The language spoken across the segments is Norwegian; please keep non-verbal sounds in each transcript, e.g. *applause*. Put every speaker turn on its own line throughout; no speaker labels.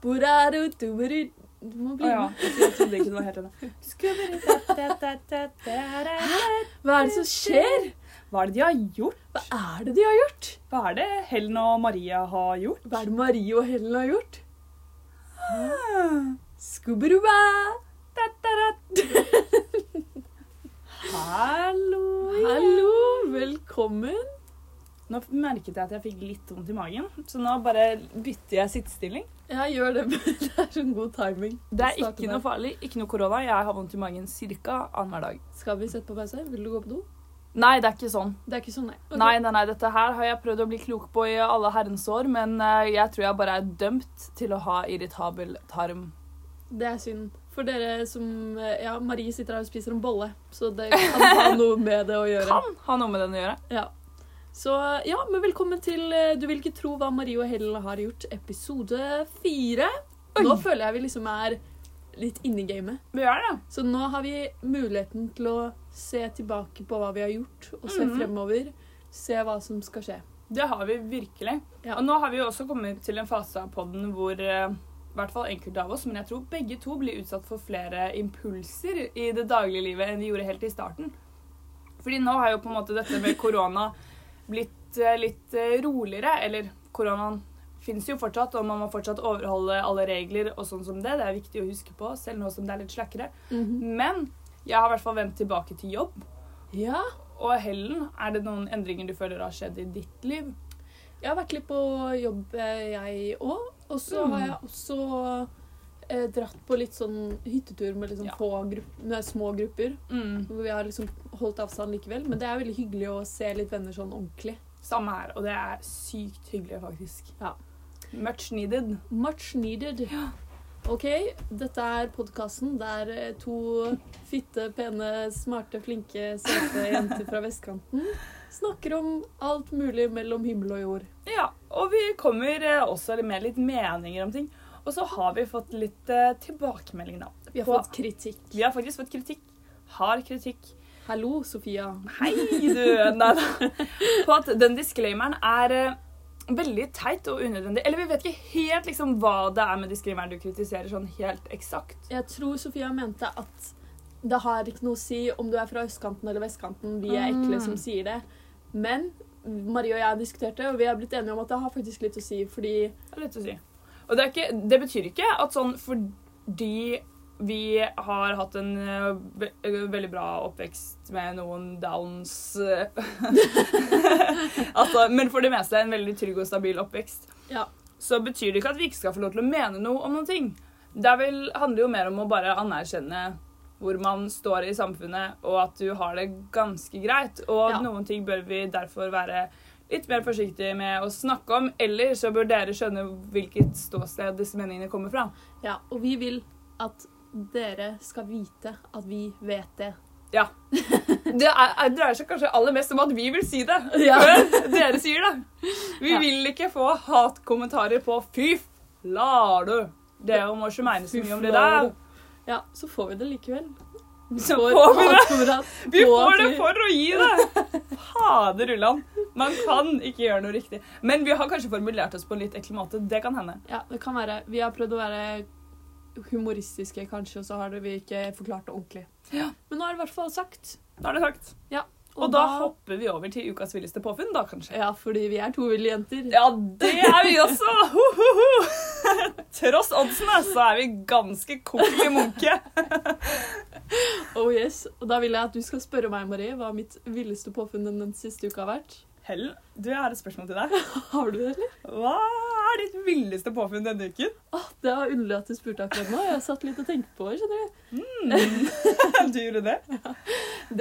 Skubberubapapapapurarutuberu- Du må bli
Å ja.
med.
Jeg trodde ikke det var helt enig.
Hva er det som skjer?
Hva er det de har gjort?
Hva er det de har gjort?
Hva er det Helen og Maria har gjort?
Hva er det Marie og Helen har gjort? Skubberuba!
Hallo!
Hallo, velkommen.
Nå merket jeg at jeg fikk litt vondt i magen, så nå bare bytter jeg sittestilling.
Jeg gjør det, *laughs* men det er sånn god timing.
Det er
Starte
ikke
der.
noe farlig, ikke noe korona. Jeg har vondt i magen ca. annenhver dag.
Skal vi sette på pause? Vil du gå på do?
Nei, det er ikke sånn.
Det er ikke sånn, nei. Ok.
Nei, nei, nei, dette her har jeg prøvd å bli klok på i alle herrens år, men eh, jeg tror jeg bare er dømt til å ha irritabel tarm.
Det er synd. For dere som eh, Ja, Marie sitter her og spiser en bolle, så det kan ha noe med det å gjøre.
Kan ha noe med den å gjøre.
Ja. Så ja, men velkommen til eh, Du vil ikke tro hva Marie og Helen har gjort, episode fire. Nå føler jeg vi liksom er litt inne i gamet.
Vi gjør det.
Så nå har vi muligheten til å se tilbake på hva vi har gjort, og se
Mhm.
fremover. Se hva som skal skje.
Det har vi virkelig.
Ja.
Og nå har vi jo også kommet til en fase av podden hvor eh, i hvert fall enkelte av oss, men jeg tror begge to blir utsatt for flere impulser i det daglige livet enn vi gjorde helt i starten. Fordi nå har jo på en måte dette med korona blitt eh, litt eh, roligere, eller koronaen finnes jo fortsatt, og man må fortsatt overholde alle regler og sånn som det. Det er viktig å huske på, selv nå som det er litt slakkere.
Mhm.
Men jeg har i hvert fall vendt tilbake til jobb.
Ja.
Og Hellen, er det noen endringer du føler har skjedd i ditt liv?
Jeg har vært litt på jobb, eh, jeg òg. Og så
Mm.
har jeg også eh, dratt på litt sånn hyttetur med liksom
Ja.
få grupp, nei, små grupper.
Mm.
Hvor vi har liksom holdt avstand likevel. Men det er veldig hyggelig å se litt venner sånn ordentlig.
Samme her, og det er sykt hyggelig, faktisk.
Ja.
Much needed.
Much needed. OK, dette er podkasten der eh, to fitte, pene, smarte, flinke, søte jenter fra vestkanten snakker om alt mulig mellom himmel og jord.
Ja, og vi kommer eh, også med litt meninger om ting. Og så har vi fått litt eh, tilbakemelding, da.
Vi har fått kritikk.
vi har faktisk fått kritikk. Hard kritikk.
Hallo, Sofia.
Hei, du! *laughs* Nei da. På at den disclaimeren er eh, veldig teit og unødvendig. Eller vi vet ikke helt liksom, hva det er med disclaimeren du kritiserer, sånn helt eksakt.
Jeg tror Sofia mente at det har ikke noe å si om du er fra østkanten eller vestkanten. Vi er ekle som sier det. Men Marie og jeg har diskutert det, og vi har blitt enige om at det har faktisk litt å si. Fordi
Det er lett å si. Og det, er ikke, det betyr ikke at sånn fordi vi har hatt en ø, ve- ø, veldig bra oppvekst med noen downs ø, *laughs* altså, Men for det meste en veldig trygg og stabil oppvekst.
Ja.
Så betyr det ikke at vi ikke skal få lov til å mene noe om noen ting. Det er vel, handler jo mer om å bare anerkjenne hvor man står i samfunnet, og at du har det ganske greit. Og
Ja.
noen ting bør vi derfor være litt mer forsiktige med å snakke om, eller så bør dere skjønne hvilket ståsted disse meningene kommer fra.
Ja, og vi vil at dere skal vite at vi vet det.
Ja. Det er, er- dreier seg kanskje aller mest om at vi vil si det
*laughs* Ja.
før dere sier det. Vi
Ja.
vil ikke få hatkommentarer på 'fy flar du'. Det er jo må ikke mene så
Fy
mye om det
flar
der.
du. Ja, så får vi det likevel.
Så
*laughs*
får vi det.
det.
Vi
på
får
at
det
vi-
for å gi det! Fader ullan. Man kan ikke gjøre noe riktig. Men vi har kanskje formulert oss på en litt ekkel måte. Det kan hende.
Ja, det kan være. Vi har prøvd å være humoristiske, kanskje, og så har vi ikke forklart det ordentlig.
Ja.
Men nå er det i hvert fall sagt.
Da er det sagt. Og, da, hopper vi over til ukas villeste påfunn, da kanskje.
Ja, fordi vi er to ville jenter.
Ja, det er vi også! Ho, ho, ho. Tross oddsene så er vi ganske koki munke.
Oh yes, og Da vil jeg at du skal spørre meg, Marie, hva mitt villeste påfunn den siste uka har vært.
Helen, du, jeg har et spørsmål til deg.
Har du det, eller?
Hva er ditt villeste påfunn denne uken?
Åh, det var underlig at du spurte akkurat nå. Jeg satt litt og tenkte på det. skjønner du?
Du gjorde det?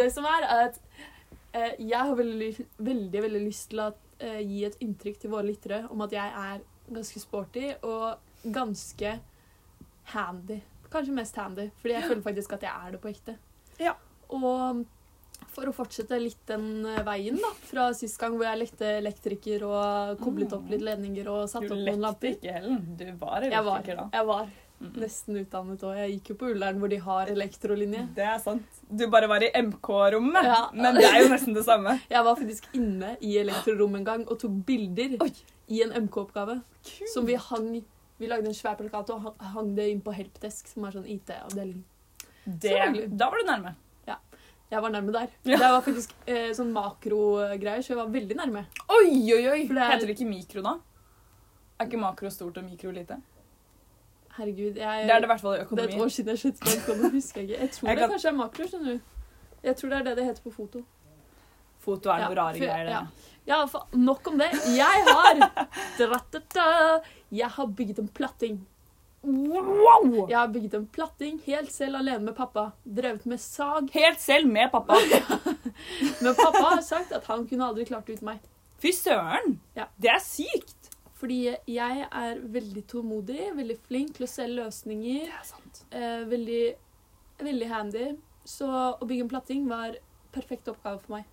Det som er, er at eh, jeg har veldig, ly- veldig, veldig lyst til å eh, gi et inntrykk til våre lyttere om at jeg er ganske sporty og ganske handy. Kanskje mest handy, fordi jeg føler faktisk at jeg er det på ekte.
Ja.
Og for å fortsette litt den eh, veien da, fra sist gang hvor jeg lekte elektriker og koblet opp litt ledninger og satt
Du
opp noen
lekte
lamper.
ikke, Helen. Du Mm. var
Jeg var,
elektriker da.
jeg var.
Mm.
Nesten utdannet òg. Jeg gikk jo på Ullern, hvor de har elektrolinje.
Det er sant. Du bare var i MK-rommet,
Ja.
men det er jo nesten det samme.
Jeg var faktisk inne i elektrorom en gang og tok bilder
Oi.
i en MK-oppgave.
Kult.
Som vi hang Vi lagde en svær plakat og hang- hang det inn på Helpdesk, som er sånn IT-avdeling.
Det, da var du nærme.
Jeg var nærme der.
Ja.
Det var faktisk eh, sånn makrogreier, så jeg var veldig nærme.
Oi, oi, oi!
For det er-
Heter det ikke mikro da? Er ikke makro stort og mikro lite?
Herregud, jeg
Det er det i hvert fall i
Eh, Det er et
økonomi.
år siden jeg skjønte hva det kom, det husker jeg ikke. Jeg tror
Jeg kan-
det kanskje er makro, skjønner du. Jeg tror det er det det heter på foto.
Foto er noe
Ja,
rare
for-
greier, det.
ja. Ja, fa nok om det. Jeg har
*laughs*
Dra-ta-ta. Jeg har bygget en platting.
Wow!
Jeg har bygget en platting helt selv alene med pappa. Drevet med sag.
Helt selv med pappa.
Men pappa har sagt at han kunne aldri klart det uten meg.
Fy søren!
Ja.
Det er sykt!
Fordi jeg er veldig tålmodig, veldig flink til å se løsninger.
er sant.
Eh, veldig, veldig handy. Så å bygge en platting var perfekt oppgave for meg.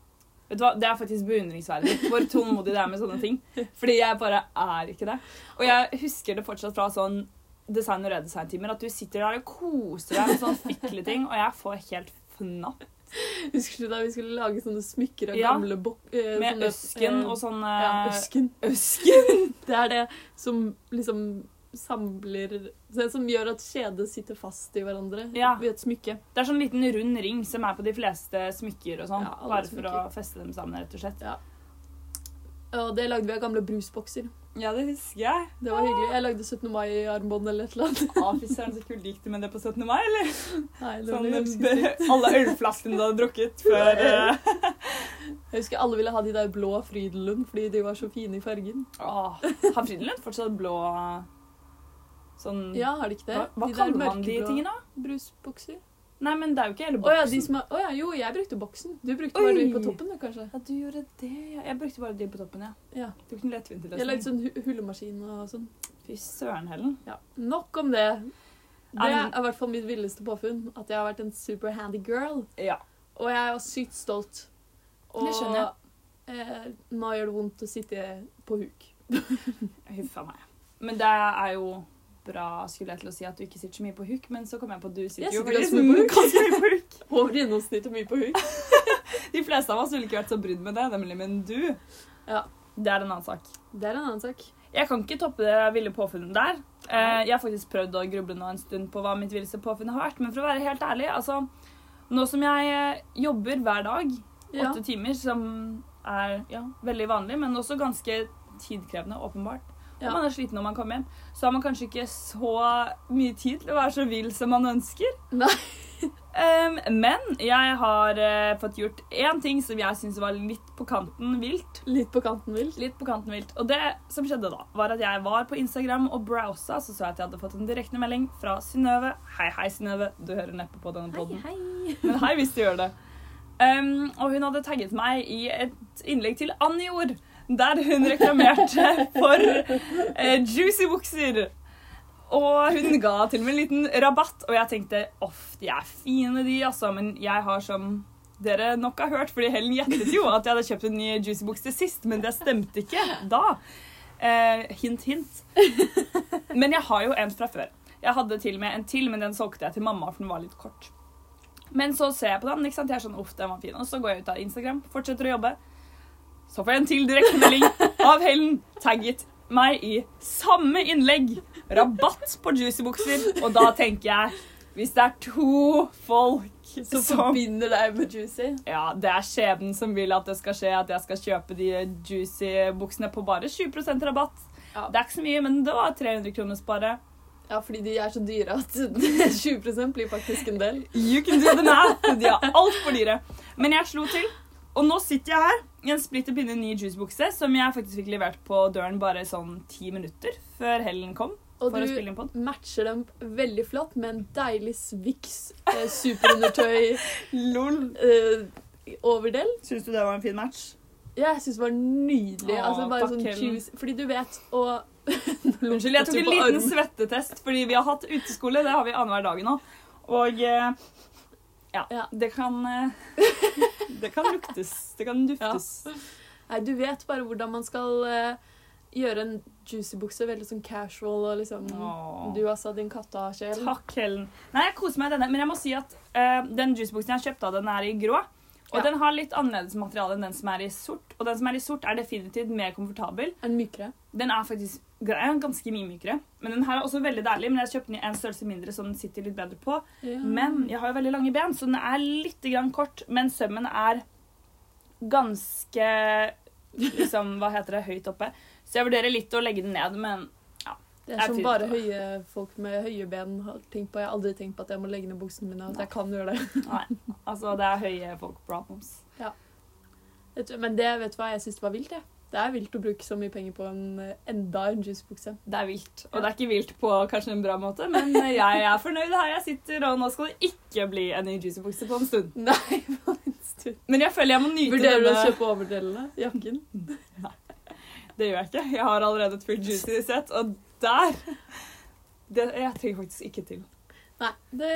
Vet du hva, Det er faktisk beundringsverdig hvor tålmodig det er med sånne ting. Fordi jeg bare er ikke det. Og jeg husker det fortsatt fra sånn design- og redesign-timer at du sitter der og koser deg med sånne fikleting, og jeg får helt fnatt
Husker du da vi skulle lage sånne smykker av
Ja.
gamle bok... eh,
med
sånne,
øsken
eh,
og sånn
Ja,
eh,
øsken.
*laughs* Øsken?
*laughs* Det er det som liksom samler Det som gjør at kjedet sitter fast i hverandre
Ja.
ved et smykke.
Det er sånn liten rund ring som er på de fleste smykker og sånn.
Ja, alle
bare for
smykker.
å feste dem sammen, rett og slett.
Og det lagde vi av gamle brusbokser.
Ja, det husker jeg.
Det var hyggelig. Jeg lagde 17. mai-armbånd eller et eller annet.
Å, fy søren, så kult gikk det med det på 17. mai, eller?
Nei, det var noe
Sånn, be,
ganske sykt.
alle ølflaskene du hadde drukket før eh,
Jeg husker alle ville ha de der blå Frydenlund fordi de var så fine i fargen.
Åh, Har Frydenlund fortsatt blå eh, sånn
Ja, har de ikke det?
Hva, hva
de der
kaller man de
mørkeblå
tingene?
Brusbokser.
Nei, men det er jo ikke hele
Å ja, de
boksen.
som er, å ja, jo, jeg brukte boksen. Du brukte bare
Oi!
de på toppen, du, kanskje.
Ja, du gjorde det, ja. Jeg brukte bare de på toppen, ja.
Ja.
Det var ikke noen
Jeg lagde
lettvint
sånn hu- hullemaskin og sånn.
Fy søren, Helen.
Ja, Nok om det. Det
Ja, men-
er i hvert fall mitt villeste påfunn. At jeg har vært en super handy girl.
Ja.
Og jeg er sykt stolt.
Det skjønner jeg.
Eh, nå gjør det vondt å sitte på huk.
Huff a meg. Men det er jo bra, skulle jeg til å si, at du ikke sitter så mye på huk, men så kom jeg på at du sitter
Jeg
jo
sitter
faktisk
ganske mye på huk.
*laughs* ganske mye på huk.
Over gjennomsnittet mye på huk.
De fleste av oss ville ikke vært så brydd med det, nemlig, men du
Ja.
Det er en annen sak.
Det er en annen sak.
Jeg kan ikke toppe det ville påfunnet der. Eh, jeg har faktisk prøvd å gruble nå en stund på hva mitt villeste påfunn har vært, men for å være helt ærlig, altså Nå som jeg eh, jobber hver dag,
Ja.
åtte timer, som er ja, veldig vanlig, men også ganske tidkrevende, åpenbart.
Ja.
Og man er sliten når man kommer hjem. Så har man kanskje ikke så mye tid til å være så vill som man ønsker. *laughs*
Nei.
Em, men jeg har eh, fått gjort én ting som jeg syns var litt på kanten vilt.
Litt på kanten vilt.
Litt på kanten vilt. Og det som skjedde da, var at jeg var på Instagram og browsa, så så jeg at jeg hadde fått en direktemelding fra Synnøve. Hei, hei, Synnøve. Du hører neppe på denne poden.
hei.
Men hei hvis du gjør det. Um, og hun hadde tagget meg i et innlegg til Anjord, der hun reklamerte for eh, juicy bukser. Og hun ga til og med en liten rabatt, og jeg tenkte off, de er fine de, altså. Men jeg har som dere nok har hørt, fordi Helen gjettet jo at jeg hadde kjøpt en ny juicy bukse sist, men det stemte ikke da. Eh, hint, hint. Men jeg har jo en fra før. Jeg hadde til og med en til, men den solgte jeg til mamma, for den var litt kort. Men så ser jeg på den, ikke sant? jeg er sånn, uff, den var fin. Og så går jeg ut av Instagram, fortsetter å jobbe. Så får jeg en til direktemelding av Helen, tagget meg i samme innlegg. Rabatt på juicybukser. Og da tenker jeg, hvis det er to folk
Som
som
forbinder deg med Juicy.
ja, det er skjebnen som vil at det skal skje, at jeg skal kjøpe de juicy buksene på bare 20 rabatt.
Ja.
Det er ikke så mye, men det var 300 kroner spare.
Ja, fordi de er så dyre at *laughs* 20 blir faktisk en del.
You can do the math! *laughs* De er altfor dyre. Men jeg slo til, og nå sitter jeg her i en splitter pinne ny juicebukse som jeg faktisk fikk levert på døren bare sånn ti minutter før Helen kom.
Og
for å
du
spille inn på den.
matcher dem veldig flott med en deilig Swix eh, superundertøy *laughs*
Lol.
eh, overdel.
Syns du det var en fin match?
Jeg syns det var nydelig.
Åh,
altså bare
takk,
sånn
Helen.
cruise. Fordi du vet og *laughs*
Unnskyld, jeg tok en liten svettetest fordi vi har hatt uteskole. Det har vi annenhver dag nå. Og eh, ja,
Ja.
det kan eh, Det kan luktes. Det kan duftes.
Nei, du vet bare hvordan man skal eh, gjøre en juicy-bukse veldig sånn casual og liksom
Åh.
Du altså, din katta-sjel.
Takk, Helen. Nei, jeg koser meg i denne, men jeg må si at eh, den juiceboksen jeg kjøpte av, den er i grå. Og
Ja.
den har litt annerledes materiale enn den som er i sort. Og den som er i sort, er definitivt mer komfortabel.
Er den mykere?
Den er faktisk den er ganske mye mykere. Men den her er også veldig deilig, men jeg kjøpte den i en størrelse mindre, så den sitter litt bedre på. Men jeg har jo veldig lange ben, så den er litt grann kort. Men sømmen er ganske liksom, Hva heter det? Høyt oppe. Så jeg vurderer litt å legge den ned, men
Det
Jeg
er som
tror
bare
det.
høye folk med høye ben har tenkt på. Jeg har aldri tenkt på at jeg må legge ned buksene mine, og at jeg kan gjøre det. *laughs*
nei. Altså, det er høye folk problems.
Vet du- Men det vet du hva jeg syns var vilt, jeg. Det er vilt å bruke så mye penger på en eh, enda en juicebukse.
Det er vilt. Og det er ikke vilt på kanskje en bra måte, men jeg er fornøyd her jeg sitter, og nå skal det ikke bli en ny juicebukse på en stund.
*laughs* Nei, på en stund.
Men jeg føler jeg må nyte
Vurderer du å
denne-
kjøpe overdelene? Jakken?
Det gjør jeg ikke. Jeg har allerede et fullt juicy-sett, og der det, Jeg trenger faktisk ikke til.
Nei. Det,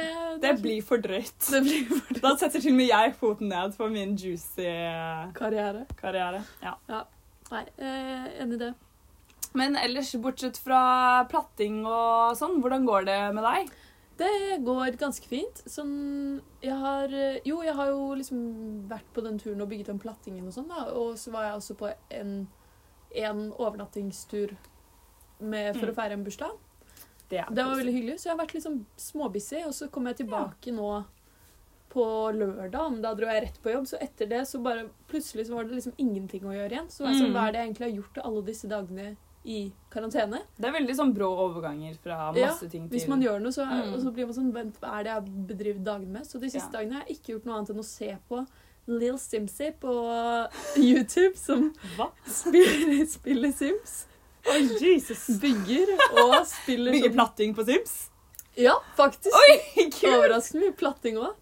Det blir for drøyt.
det blir for
Da setter til og med jeg foten ned for min juicy-karriere.
*laughs* karriere.
Ja.
Nei, eh, enig i det.
Men ellers, bortsett fra platting og sånn, hvordan går det med deg?
Det går ganske fint. Sånn Jeg har eh, Jo, jeg har jo liksom vært på den turen og bygget den plattingen og sånn, da. Og så var jeg også på en, en overnattingstur med, for
Mm.
å feire en bursdag.
Det, er
Det var veldig hyggelig. Så jeg har vært litt sånn småbissig, og så kom jeg tilbake nå på lørdag, men da dro jeg rett på jobb. Så etter det så bare plutselig så var det liksom ingenting å gjøre igjen. Så var jeg sånn,
Mm.
hva er det jeg egentlig har gjort alle disse dagene i karantene?
Det er veldig sånn brå overganger fra
Ja,
masse ting til
Hvis man gjør noe, så, er,
Mm.
og så blir man sånn Vent, hva er det jeg har bedrevet dagene med? Så de siste
Ja.
dagene har jeg ikke gjort noe annet enn å se på Lill Simsy på *laughs* YouTube, som
Hva?
spiller, spiller Sims.
Å, Jesus!
Bygger og spiller
Bygge
sånn-
platting på *laughs* Sims?
Ja, faktisk.
Kult!
Overraskende mye platting òg.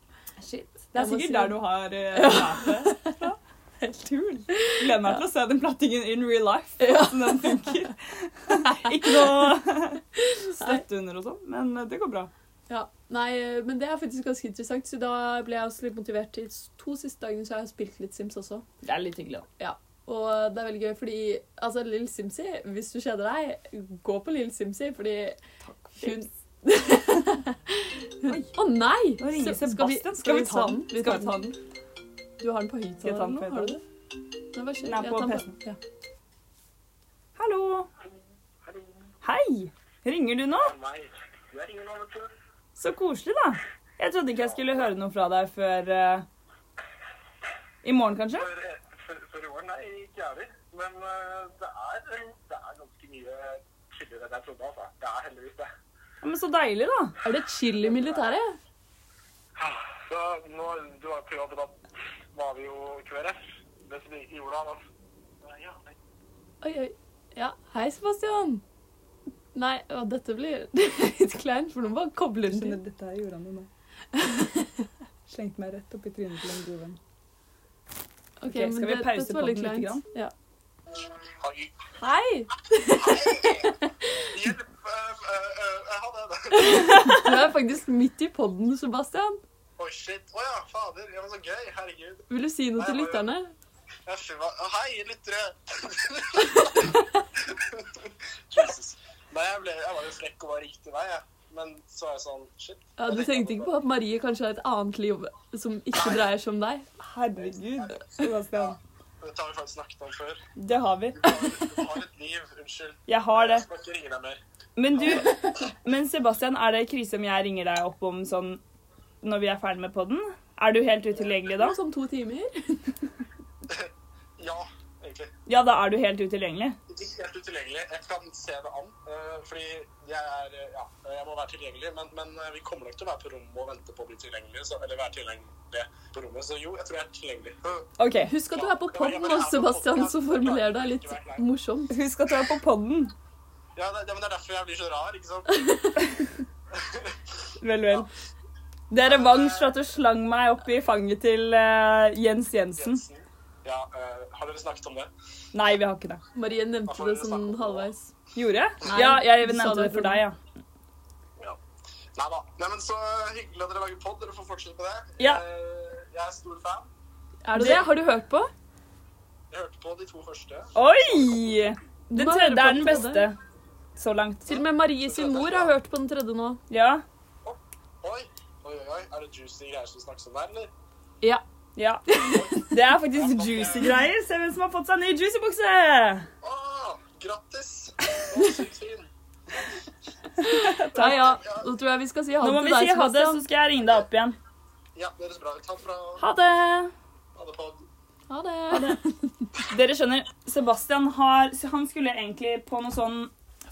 Shit. Det
Jeg
er
må si-
sikkert der du har eh, lært det. fra.
*laughs*
Helt kul. Gleder meg til å se den plattingen in real life,
Ja.
hvordan den
*laughs*
funker. Ikke noe støtte under og sånn, men det går bra.
Ja, nei, men det er faktisk ganske interessant, så da ble jeg også litt motivert. De to siste dagene så har jeg spilt litt Sims også.
Det er litt hyggelig, da.
Og det er veldig gøy, fordi altså, Lill Simsy, hvis du kjeder deg, gå på Lill Simsy, fordi
Takk.
hun *laughs* Hun- Å nei!
Nå ringer
Så-
Sebastian. Skal vi ta den?
Vi tar den. Du har den på
Skal jeg ta
høyttaler
den
nå,
på
har du det? Nei, bare kjør.
Den er
Ja,
på
ta den
PC-en.
Ja.
Hallo. Hei. Ringer du nå?
meg. Jeg ringer nå, vet du.
Så koselig, da. Jeg trodde ikke jeg skulle høre noe fra deg før eh, i morgen, kanskje?
For, for, for i år, nei, ikke jeg heller. Men eh, det, er, det er ganske mye chillere enn jeg trodde, altså. Det er heldigvis det.
Ja, men så deilig, da.
Er det chill i militæret?
Så nå, du var på jobb, da var vi jo KrF. Det som gikk i jorda, da. Ja, nei.
Oi, oi. Ja, hei, Sebastian. Nei, å, dette blir *laughs* litt kleint, for nå bare kobler den til.
dette gjorde han jo *laughs* nå. Slengte meg rett opp i trynet til en god venn.
Ok,
skal
men
vi
det-
pause
dette var
podden
litt
lite
kleint.
grann?
Ja.
Hei.
Hei!
Hjelp! eh, eh, eh, eh, Ha det.
Du er faktisk midt i podden, Sebastian.
Å, shit. Å ja, fader. Ja, men så gøy. Herregud.
Vil du si noe til lytterne?
Jeg er sju- Å, Hei, *laughs* lyttere! Jesus. Nei, jeg, ble, jeg var jo frekk og var riktig vei, jeg. Men så var jeg sånn Shit.
Ja, du tenkte ikke på at Marie kanskje har et annet liv som ikke dreier seg om deg?
Herregud, Sebastian.
Dette har vi faktisk snakket om *laughs* før.
Det har vi.
Du har- Du har et liv. Unnskyld.
Jeg har det.
Jeg skal ikke ringe deg mer.
Men du, men Sebastian, er det krise om jeg ringer deg opp om sånn når vi er ferdig med podden? Er du helt utilgjengelig da?
Noe som sånn to timer.
Ja, egentlig.
Ja, da er du helt utilgjengelig.
Ikke helt utilgjengelig. Jeg kan se det an. eh, Fordi jeg er eh, Ja, jeg må være tilgjengelig, men, men eh, vi kommer nok til å være på rommet og vente på å bli tilgjengelige. Så, eller være tilgjengelige på rommet. Så jo, jeg tror jeg er tilgjengelig.
OK.
Husk at du er på podden nå, Sebastian, så formuler deg litt morsomt.
Husk at du er på podden.
Ja, det, ja, men det er derfor jeg blir så rar, ikke sant?
Vel, vel. Det er revansj for at du slang meg opp i fanget til eh, Jens Jensen.
Jensen. Ja, eh, har dere snakket om det?
Nei, vi har ikke det.
Marie nevnte det sånn halvveis.
Gjorde jeg?
Nei,
Ja, jeg
du sa
nevnte det
det
for
for
deg, ja.
Ja. Nei da. Nei, men så eh, hyggelig at dere lager pod. Dere får fortsette med det.
Ja.
Eh, jeg er stor fan.
Er det det? Har du hørt på?
Jeg hørte på de to første.
Oi! Den
må ha hørt på
tredje er den beste så langt.
Til og med Marie sin mor har hørt på den tredje nå.
Ja.
Oi, oi, oi, oi. Er det juicy greier som snakkes om der, eller?
Ja.
Ja. Det er
*laughs*
faktisk juicy greier. Se hvem som har fått seg ny juicy-bukse!
Ah, grattis! Å, sykt fin.
Ja, ja. Da tror jeg vi skal si ha
Nå må
det
vi
til deg,
si ha det, så
Sebastian.
skal jeg ringe deg opp igjen.
Ja, det høres bra ut. Takk for å
Ha det!
ha det på.
Ha det.
Dere skjønner, Sebastian har Han skulle egentlig på noe sånn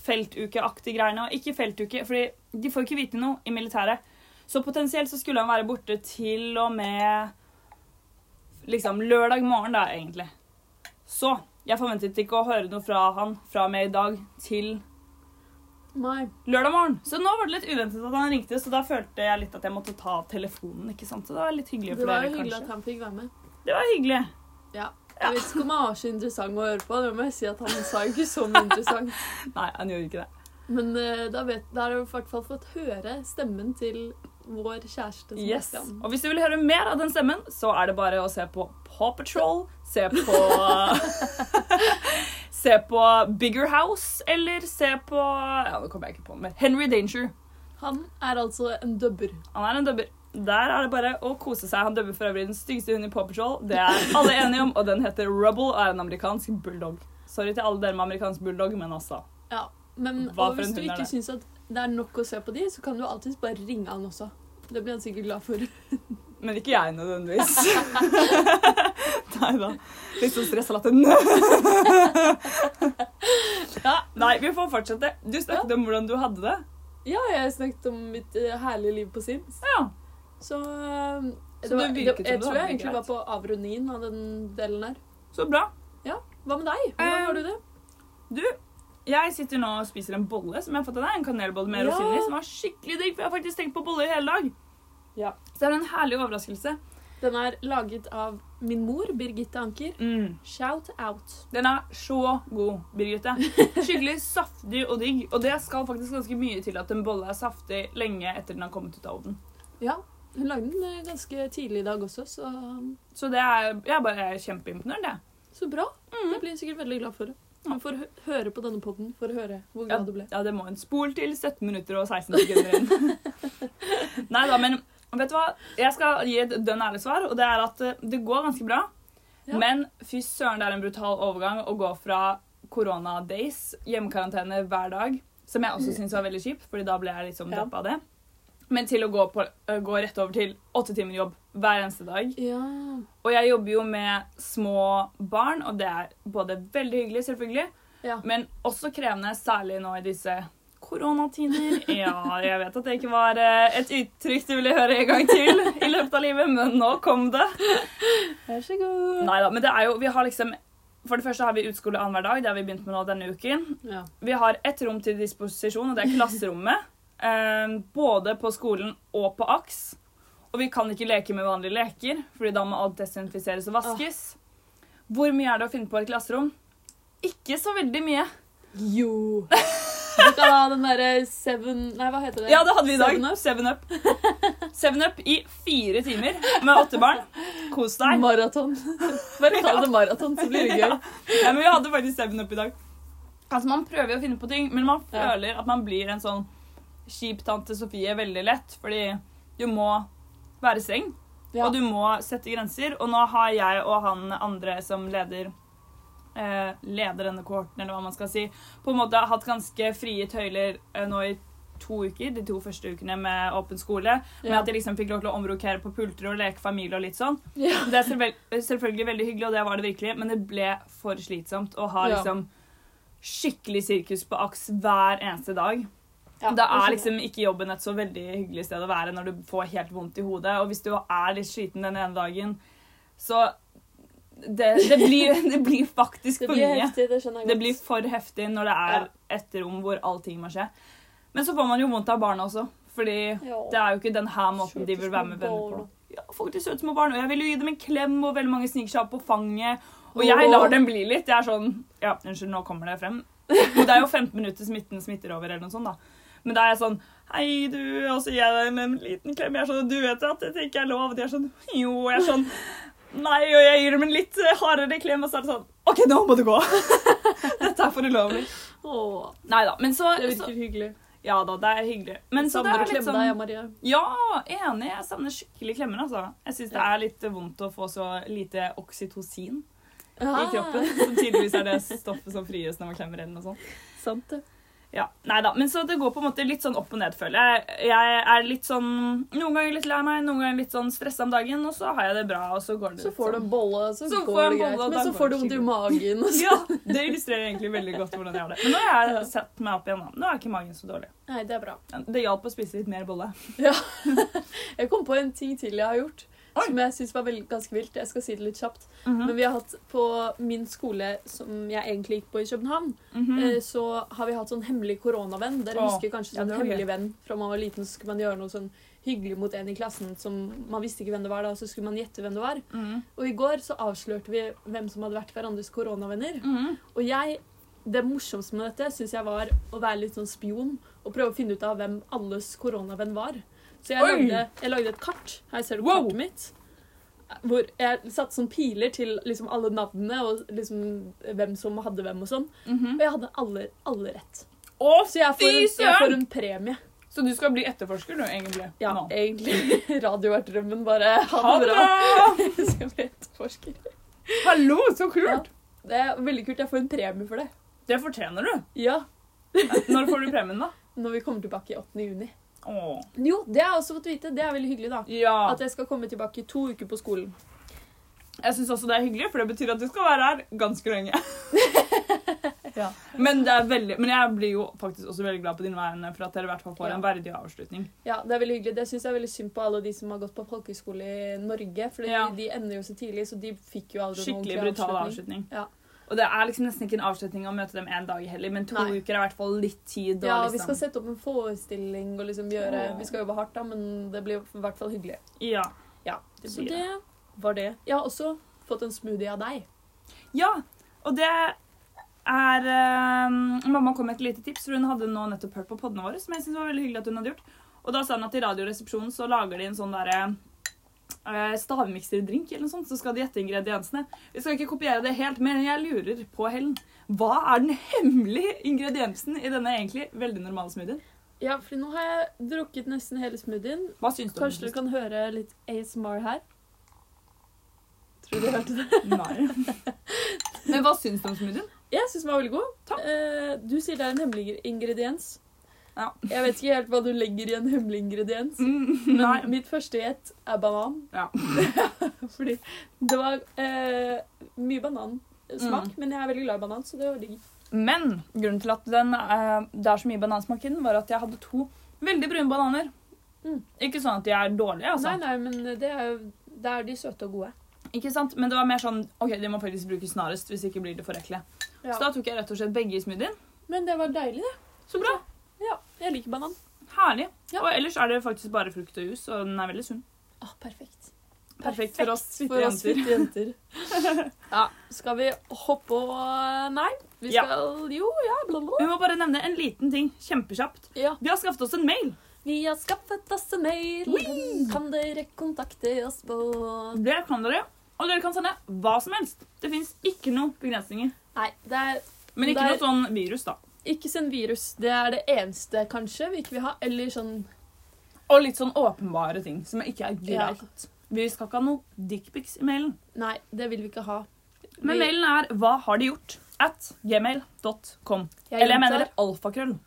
feltukeaktig greier nå. Ikke feltuke, fordi de får ikke vite noe i militæret. Så potensielt så skulle han være borte til og med liksom lørdag morgen, da, egentlig. Så jeg forventet ikke å høre noe fra han fra og med i dag til
*laughs* Nei.
lørdag morgen. Så nå var det litt uventet at han ringte, så da følte jeg litt at jeg måtte ta telefonen. ikke sant? Så det var litt hyggelig
Det
for
var
dere,
jo hyggelig at
kanskje.
han fikk være med.
Det var hyggelig.
Ja. Jeg vet ikke om han var så interessant å høre på. Det må jeg si at han sa jo ikke så mye interessant.
Nei, han gjorde ikke det.
Men eh, da, vet, da har du i hvert fall fått høre stemmen til vår kjæreste
Yes.
Sebastian.
Og hvis du vil høre mer av den stemmen, så er det bare å se på Paw Patrol, se på Se på Bigger House, eller se på Ja, det kommer jeg ikke på, men Henry Danger.
Han er altså en dubber.
Han er en dubber. Der er det bare å kose seg. Han dubber for øvrig den styggeste hunden i Paw Patrol. Det er alle enige om, og den heter Rubble og er en amerikansk bulldog. Sorry til alle dere med amerikansk bulldog, men altså
Ja. Men
Hva
og
for en
hvis du
hund er
ikke
det?
syns at det er nok å se på de, så kan du alltids bare ringe han også. Det blir han sikkert glad for.
Men ikke jeg *laughs* nødvendigvis. Nei da. Litt sånn stressa latter. *laughs* ja, nei, vi får fortsette. Du snakket om hvordan du hadde det.
*laughs* Ja, jeg snakket om mitt eh, herlige liv på Sims.
Ja.
Så, eh,
Så
det var,
det
det,
virket som
jeg tror
du hadde
jeg
det
egentlig var
greit.
på avrundingen av den delen der.
Så bra.
Ja, Hva med deg? Hvordan
Eh,
har du det?
Du, jeg sitter nå og spiser en bolle som jeg har fått av deg. En kanelbolle med
Ja.
rosiner som var skikkelig digg, for jeg har faktisk tenkt på bolle i hele dag.
Ja.
Så det er en herlig overraskelse.
Den er laget av min mor, Birgitte Anker.
Mm.
Shout out.
Den er så god, Birgitte. *laughs* Skikkelig saftig og digg. Og det skal faktisk ganske mye til at en bolle er saftig lenge etter den har kommet ut av ovnen.
Ja, hun lagde den eh, ganske tidlig i dag også, så,
Så det er, jeg er bare kjempeimponert, jeg.
så bra. Det blir hun sikkert veldig glad for. Hun får hø- høre på denne poden for å høre hvor
Ja,
glad du ble.
ja, det må en spol til 17 minutter og 16 sekunder inn.
*laughs*
Nei da, men vet du hva? Jeg skal gi et dønn ærlig svar, og det er at eh, det går ganske bra.
Ja.
Men fy søren, det er en brutal overgang å gå fra korona-days, hjemmekarantene hver dag, som jeg også syns var veldig kjipt, fordi da ble jeg liksom
Ja.
droppa av det, men til å gå, på, eh, gå rett over til åtte timer jobb hver eneste dag.
Ja.
Og jeg jobber jo med små barn, og det er både veldig hyggelig, selvfølgelig,
Ja.
men også krevende, særlig nå i disse koronatider. Ja, jeg vet at det ikke var eh, et uttrykk du ville høre en gang til i løpet av livet, men nå kom det.
Vær så god.
Neida, men det er jo Vi har liksom For det første har vi utskole annenhver dag, det har vi begynt med nå denne uken.
Ja.
Vi har ett rom til disposisjon, og det er klasserommet. eh, både på skolen og på AKS. Og vi kan ikke leke med vanlige leker, fordi da må alt desinfiseres og vaskes. Hvor mye er det å finne på i et klasserom? Ikke så veldig mye.
Jo. Du kan ha den derre seven Nei, hva heter det?
Ja, det hadde vi i
Seven
dag.
Up.
Seven up. Seven up *laughs* i fire timer med åtte barn. Kos deg. *laughs*
Maraton. Bare kall det maraton, så blir det gøy.
Ja, men vi hadde faktisk Seven Up i dag. Altså, Man prøver jo å finne på ting, men man
Ja.
føler at man blir en sånn kjip tante Sofie veldig lett, fordi du må være streng,
Ja.
og du må sette grenser. Og nå har jeg og han andre som leder eh, leder denne kohorten, eller hva man skal si, på en måte hatt ganske frie tøyler eh, nå i to uker, de to første ukene med åpen skole, med
Ja.
at jeg liksom fikk lov til å omrokere på pulter og leke familie og litt sånn.
Ja.
Det er selvvel- selvfølgelig veldig hyggelig, og det var det virkelig, men det ble for slitsomt å ha
Ja.
liksom skikkelig sirkus på aks hver eneste dag.
Ja,
da
jeg
er
skjønner.
liksom ikke jobben et så veldig hyggelig sted å være når du får helt vondt i hodet, og hvis du er litt sliten den ene dagen, så det, det, blir, *laughs* det blir faktisk
Det
for
blir
mye.
heftig, det skjønner jeg godt.
Det blir for heftig når det er et rom hvor allting må skje. Men så får man jo vondt av barna også, fordi
Ja.
det er jo ikke den her måten de
Søte
vil
små
være med venner på.
barn.
Ja, faktisk søte små barn. Og jeg vil jo gi dem en klem, og veldig mange sniker seg opp på fanget. Og
Åh.
jeg lar dem bli litt. Jeg er sånn Ja, unnskyld, nå kommer det frem. Og det er jo 15 minutter smitten smitter over, eller noe sånt, da. Men da er jeg sånn Hei, du. Og så gir jeg dem en liten klem. Jeg er sånn Du vet at dette ikke er lov? Og de er sånn Jo. Og jeg er sånn Nei, og jeg gir dem en litt eh, hardere klem, og så er det sånn OK, nå må du gå! *laughs* Dette er for ulovlig.
Åh,
Nei da, men så,
det
så
virker hyggelig.
Ja da, det er hyggelig. Men så det
Savner
er
å
litt
klemme liksom- deg,
sånn
Maria.
Ja, enig. Jeg savner skikkelig klemmer, altså. Jeg syns det
Ja.
er litt vondt å få så lite oksytocin i
Ah,
kroppen. Som tydeligvis er det stoffet som frigjøres når man klemmer eller noe sånt.
Sant det.
Ja, nei da, men så det går på en måte litt sånn opp og ned, føler jeg. Jeg er litt sånn Noen ganger litt lei meg, noen ganger litt sånn stressa om dagen, og så har jeg det bra, og så går det
Så
litt sånn.
får du en bolle, så,
Så får jeg
går
en
det
bolle,
greit.
og da
Men så
går
får du
det
vondt i
skikkelig.
magen. Og så.
*laughs* Ja, det illustrerer egentlig veldig godt hvordan jeg har det. Men nå har jeg satt meg opp igjen, da. Nå er ikke magen så dårlig.
*laughs* Nei, det er bra.
Det hjalp å spise litt mer bolle.
Jeg kom på en ting til jeg har gjort,
Oi.
som jeg syns var vel- ganske vilt. Jeg skal si det litt kjapt. Men vi har hatt på min skole, som jeg egentlig gikk på i København,
Mhm.
eh, så har vi hatt sånn hemmelig koronavenn. Dere
Åh,
husker kanskje
ja,
sånn
det var gøy.
hemmelig venn fra man var liten, så skulle man gjøre noe sånn hyggelig mot en i klassen som man visste ikke hvem det var da, og så skulle man gjette hvem det var.
Mhm.
Og i går så avslørte vi hvem som hadde vært hverandres koronavenner.
Mhm.
Og jeg, det morsomste med dette syns jeg var å være litt sånn spion og prøve å finne ut av hvem alles koronavenn var. Så jeg
Oi!
lagde, jeg lagde et kart. Her ser du
Wow!
kartet mitt. Hvor jeg satte sånn piler til liksom alle navnene og liksom hvem som hadde hvem og sånn.
Mhm.
Og jeg hadde alle, alle rett.
Å,
Så jeg får,
fy
en, jeg får
søren!
en premie.
Så du skal bli etterforsker nå, egentlig?
Ja,
Nå.
egentlig. *laughs* Radio er drømmen, bare.
Ha
*laughs*
det bra!
Jeg skal bli etterforsker.
Hallo, så kult!
Ja. Det er veldig kult. Jeg får en premie for det.
Det fortjener du.
Ja,
Når får du premien, da?
Når vi kommer tilbake i 8. juni.
Åh.
Jo, det har jeg også fått vite. Det er veldig hyggelig, da.
Ja.
At jeg skal komme tilbake i to uker på skolen.
Jeg syns også det er hyggelig, for det betyr at du skal være her ganske lenge.
*laughs* Ja.
Men, det er veldig, men jeg blir jo faktisk også veldig glad på dine vegne for at dere i hvert fall får
Ja.
en verdig avslutning.
Ja, Det er veldig hyggelig. Det syns jeg er veldig synd på alle de som har gått på folkehøyskole i Norge. For
Ja.
de ender jo så tidlig, så de fikk jo aldri noen
Skikkelig
ordentlig
brutal avslutning.
Ja.
Og det er liksom nesten ikke en avslutning å møte dem én dag heller, men to
Nei.
uker er i hvert fall litt tid. Og
Ja, vi
liksom.
skal sette opp en forestilling og liksom gjøre
Åh.
Vi skal jobbe hardt, da, men det blir i hvert fall hyggelig.
ja.
Ja,
Det
Så
blir
det var det. Jeg har også fått en smoothie av deg.
ja, og det er eh, Mamma kom med et lite tips, for hun hadde nå nettopp hørt på poddene våre, som jeg synes var veldig hyggelig at hun hadde gjort. Og da sa hun at i Radioresepsjonen så lager de en sånn derre eh, stavmikserdrink eller noe sånt, så skal de gjette ingrediensene. Vi skal ikke kopiere det helt, men jeg lurer på, Helen, hva er den hemmelige ingrediensen i denne egentlig veldig normale smoothien?
Ja, for nå har jeg drukket nesten hele smoothien.
Hva syns du om
Kanskje du kan høre litt ASMR her? Tror du du hørte det?
Nei. *laughs* Men hva syns du om smoothien?
Jeg syns den var veldig god.
Takk.
Eh, du sier det er en hemmelig ingrediens.
Ja.
Jeg vet ikke helt hva du legger i en hemmelig ingrediens.
Mm,
Men
nei.
mitt første gjett er banan.
Ja.
*laughs* Fordi det var eh, mye banansmak,
Mm.
men jeg er veldig glad i banan, så det var digg.
Men grunnen til at den, eh, det er så mye banansmak i den, var at jeg hadde to veldig brune bananer.
Mm.
Ikke sånn at de er dårlige, altså.
Nei, nei, men det er, jo- det er de søte og gode.
Ikke sant? Men det var mer sånn OK, de må faktisk brukes snarest, hvis ikke blir det for ekle.
Ja.
Så da tok jeg rett og slett begge i smoothien.
Men det var deilig, det.
Så bra.
Ja, jeg liker banan.
Herlig.
Ja.
Og ellers er det faktisk bare frukt og jus, og den er veldig sunn.
Ah, perfekt.
Perfekt for oss fitte
for oss
jenter.
fitte jenter. *laughs* ja, skal vi hoppe og Nei, vi
Ja.
skal Jo, ja, bla, bla.
Vi må bare nevne en liten ting kjempekjapt.
Ja.
Vi har skaffet oss en mail.
Vi har skaffet oss en mail. Den Kan dere kontakte oss på
Det kan dere, og dere kan sende hva som helst. Det fins ikke noen begrensninger.
Nei, det er
Men ikke
Det er-
noe sånn virus, da.
ikke send virus. Det er det eneste kanskje vi ikke vil ha. Eller sånn
Og litt sånn åpenbare ting som ikke er
Ja.
greit. Vi skal ikke ha noe dickpics i mailen.
Nei, det vil vi ikke ha.
Men
Vi-
mailen er 'hva har de gjort?' at gmail.com.
Jeg
Eller jeg
gjentar.
mener alfakrøll.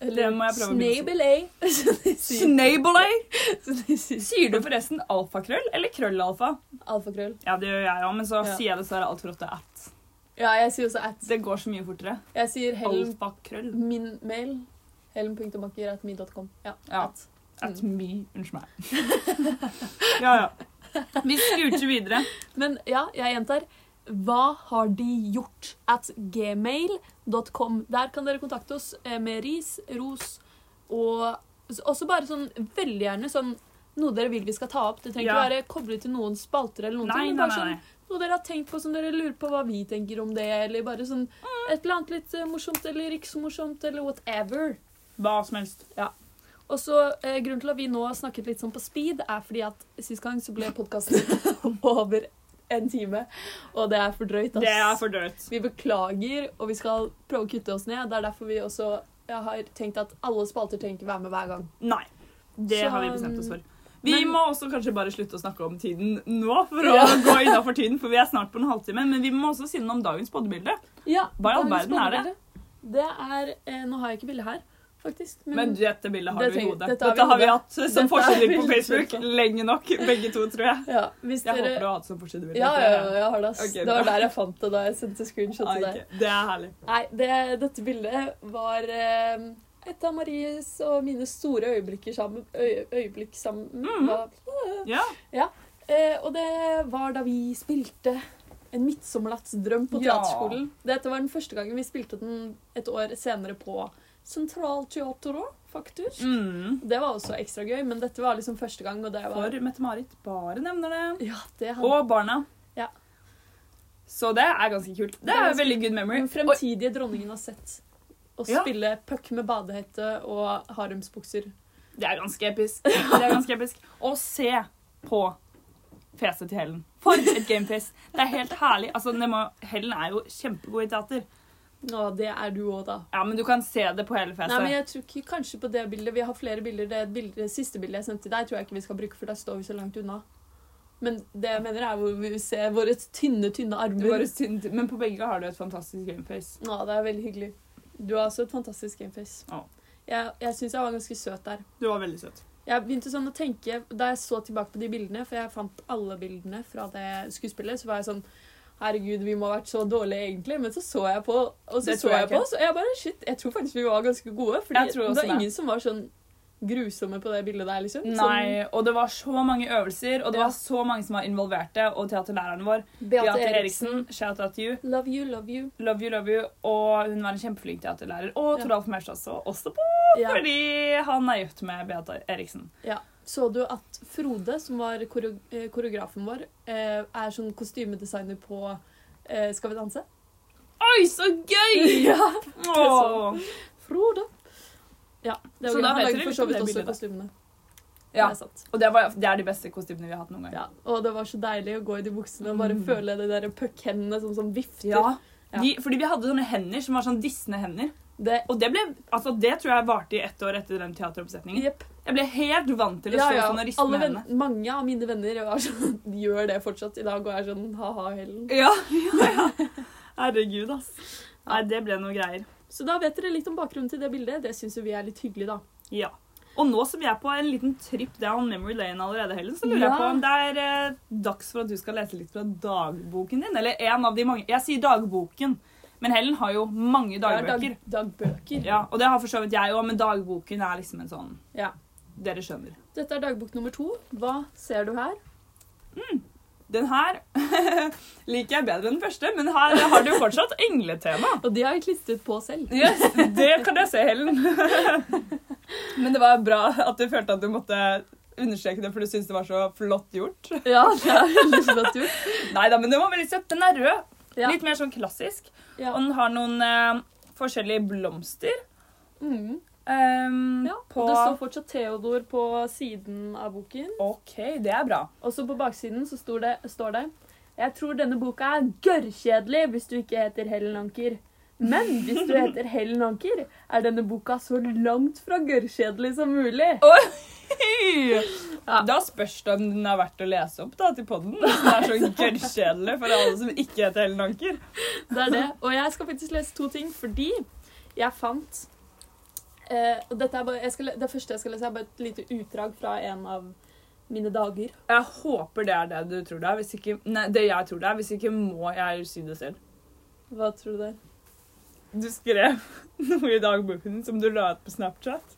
Eller
det må jeg prøve å begynne
Snabelay. *laughs*
å si.
som de sier.
*laughs* Snablay!
Som de sier.
Sier du forresten alfakrøll eller krøllalfa?
Alfakrøll.
Ja, det gjør jeg òg, men så
Ja.
sier jeg dessverre altfor ofte at.
Ja, jeg sier også at.
Det går så mye fortere.
Jeg sier Helen
Alfakrøll.
min mail. Helen.makker.me.com. Ja,
Ja.
at.
At me. Unnskyld meg. *laughs* ja, ja. Vi skurter videre.
Men ja, jeg gjentar. Hva har de gjort? At gmail.com. Der kan dere kontakte oss eh, med ris, ros og s- også bare sånn veldig gjerne sånn noe dere vil vi skal ta opp. Det trenger ikke
Ja.
være koblet til noen spalter eller noen
Nei,
ting. men
nei,
bare
nei. nei.
Sånn, noe dere har tenkt på som dere lurer på hva vi tenker om det, eller bare sånn
Mm.
et eller annet litt eh, morsomt eller ikke så morsomt eller whatever.
Hva som helst.
Og så eh, Grunnen til at vi nå har snakket litt sånn på speed, er fordi at sist gang så ble podkasten *laughs* over en time. Og det er for drøyt, ass.
Det er for drøyt.
Vi beklager, og vi skal prøve å kutte oss ned. Det er derfor vi også jeg har tenkt at alle spalter trenger ikke være med hver gang.
Nei. Det
Så,
har vi bestemt oss for. Vi
men-
må også kanskje bare slutte å snakke om tiden nå, for å
Ja.
*laughs* gå innafor tiden, for vi er snart på en halvtime. Men vi må også si noe om dagens bodebilde.
Ja,
Hva i all
dagens
verden er det?
spaltebilde, Det er eh, Nå har jeg ikke bildet her, faktisk. Men,
Men dette bildet har
Det
vi i
trenger-
hodet.
dette
Dette
har
har
vi
vi,
i hodet.
hatt som
Dette har vi
forsidebilde på
skjønt
Facebook lenge nok, begge to, tror jeg.
ja, hvis
Jeg
dere
håper du har hatt som forsidebilde.
ja,
for
ja,
det-
ja, jeg har det. ass.
Ok,
det var
bra.
der jeg fant det da jeg sendte screenshot
Ah,
til
ok.
deg.
Det er herlig.
Nei, det, dette bildet var eh, et av Maries og mine store øyeblikker sammen. Øy, øyeblikk sammen.
Mhm.
Hva-
Ja.
Eh, og det var da vi spilte En midtsommernattsdrøm på
Ja.
teaterskolen. Dette var den første gangen vi spilte den et år senere på Centralteatret, faktisk.
Mm.
Det var også ekstra gøy, men dette var liksom første gang, og det var
For Mette-Marit bare nevner det.
Ja, det hadde
Og barna.
Ja.
Så det er ganske kult. Det
er
er
ganske-
veldig good memory.
Den
Og
fremtidige dronningen har sett å
Ja.
spille puck med badehette og haremsbukser.
Det er ganske
*laughs*
episk. Det er ganske episk. Og se på fjeset til Helen. For et gamefest. Det er helt herlig. Altså, det må, Helen er jo kjempegod i teater.
Å, det er du òg, da.
Ja, men du kan se det på hele
Nei,
fjeset.
men jeg tror ikke kanskje på det bildet. Vi har flere bilder. Det bildet, det siste bildet jeg sendte til deg, tror jeg ikke vi skal bruke, for der står vi så langt unna. Men det jeg mener er hvor vi ser våre tynne, tynne
Det var
armer.
jo synd, men på begge har du et fantastisk gameface.
Ja, det er veldig hyggelig. Du har også et fantastisk gameface.
Ja.
Jeg, jeg syns jeg var ganske søt der.
Du var veldig søt.
Jeg begynte sånn å tenke, Da jeg så tilbake på de bildene, for jeg fant alle bildene fra det skuespillet, så var jeg sånn Herregud, vi må ha vært så dårlige, egentlig. Men så så jeg på, og så
Det
så
tror
jeg,
jeg
på,
ikke.
så jeg bare Shit, jeg tror faktisk vi var ganske gode.
Jeg
Fordi
tror
det
også
var
det.
ingen som var sånn grusomme på det bildet der, liksom.
Nei, og det var så mange øvelser, og det
Ja.
var så mange som var involverte. Og teaterlæreren vår,
Som
Beate Eriksen, shout out to you.
Love you, love you.
Love you, love you. Og hun var en kjempeflink teaterlærer. Og
Ja.
Toralf Maurstad så også på,
Ja.
fordi han er gift med Beate Eriksen.
Ja. Så du at Frode, som var koreo- eh, koreografen vår, eh, er sånn kostymedesigner på eh, Skal vi
*laughs*
danse?
Oi, så gøy!
ja.
Åh.
Frode. Ja, det
Så
var gøy.
da
Han
vet
lager
dere
for
litt
så
om
vidt
det
også
bildet.
kostymene.
Ja.
Det er sant.
Og det, var, det er de beste kostymene vi har hatt noen gang.
Ja, og det var så deilig å gå i de buksene og bare
Mm.
føle det der puckhendene som, som vifter. Ja.
De, fordi vi hadde sånne hender som var sånn dissende hender.
Det,
Og det, ble, altså det tror jeg varte i ett år etter den teateroppsetningen.
Jepp.
Jeg ble helt vant til å
Ja,
stå
ja.
sånn og riste
Alle
med
venn,
hendene.
mange av mine venner var sånn, *laughs* gjør det fortsatt. I dag går jeg sånn ha-ha, Helen.
Ja, *laughs* ja, ja. Herregud, ass. Nei, det ble noe greier.
Så da vet dere litt om bakgrunnen til det bildet. Det syns jo vi er litt hyggelig, da.
Ja. Og nå som vi er på en liten trip down memory lane allerede, Helen, så lurer
Ja.
jeg på om det er eh, dags for at du skal lese litt fra dagboken din. Eller en av de mange. Jeg sier dagboken, men Helen har jo mange
Det er
dagbøker.
Dag, dagbøker.
Ja, og det har for så vidt jeg òg, men dagboken er liksom en sånn
Ja.
Dere skjønner.
Dette er dagbok nummer to. Hva ser du her?
Den her *laughs* liker jeg bedre enn den første, men her har du jo fortsatt engletema.
Og de har jeg klistret på selv.
Yes, det kan jeg se, *laughs* Helen. Men det var bra at du følte at du måtte understreke det, for du syntes det var så flott gjort.
Ja, det er veldig flott gjort. *laughs*
Nei da, men den var veldig søt. Den er rød.
Ja.
Litt mer sånn klassisk.
Ja.
Og den har noen eh, forskjellige blomster.
Mm.
ehm,
ja.
på
Og det står fortsatt Theodor på siden av boken.
OK, det er bra.
Også på baksiden så står det, står det Jeg tror denne boka er gørrkjedelig hvis du ikke heter Helen Anker. Men hvis du heter Helen Anker, er denne boka så langt fra gørrkjedelig som mulig.
Hei! Da spørs det om den er verdt å lese opp da, til podden. Hvis den *laughs* er så gørrkjedelig for alle som ikke heter Helen Anker.
Det er det. Og jeg skal faktisk lese to ting fordi jeg fant eh, og dette er bare, jeg skal, le- Det første jeg skal lese, er bare et lite utdrag fra en av mine dager.
Jeg håper det er det du tror det er. Hvis ikke, nei, det jeg tror det er. Hvis ikke må jeg si det selv.
Hva tror du det er?
Du skrev noe i dagboken din som du la ut på Snapchat.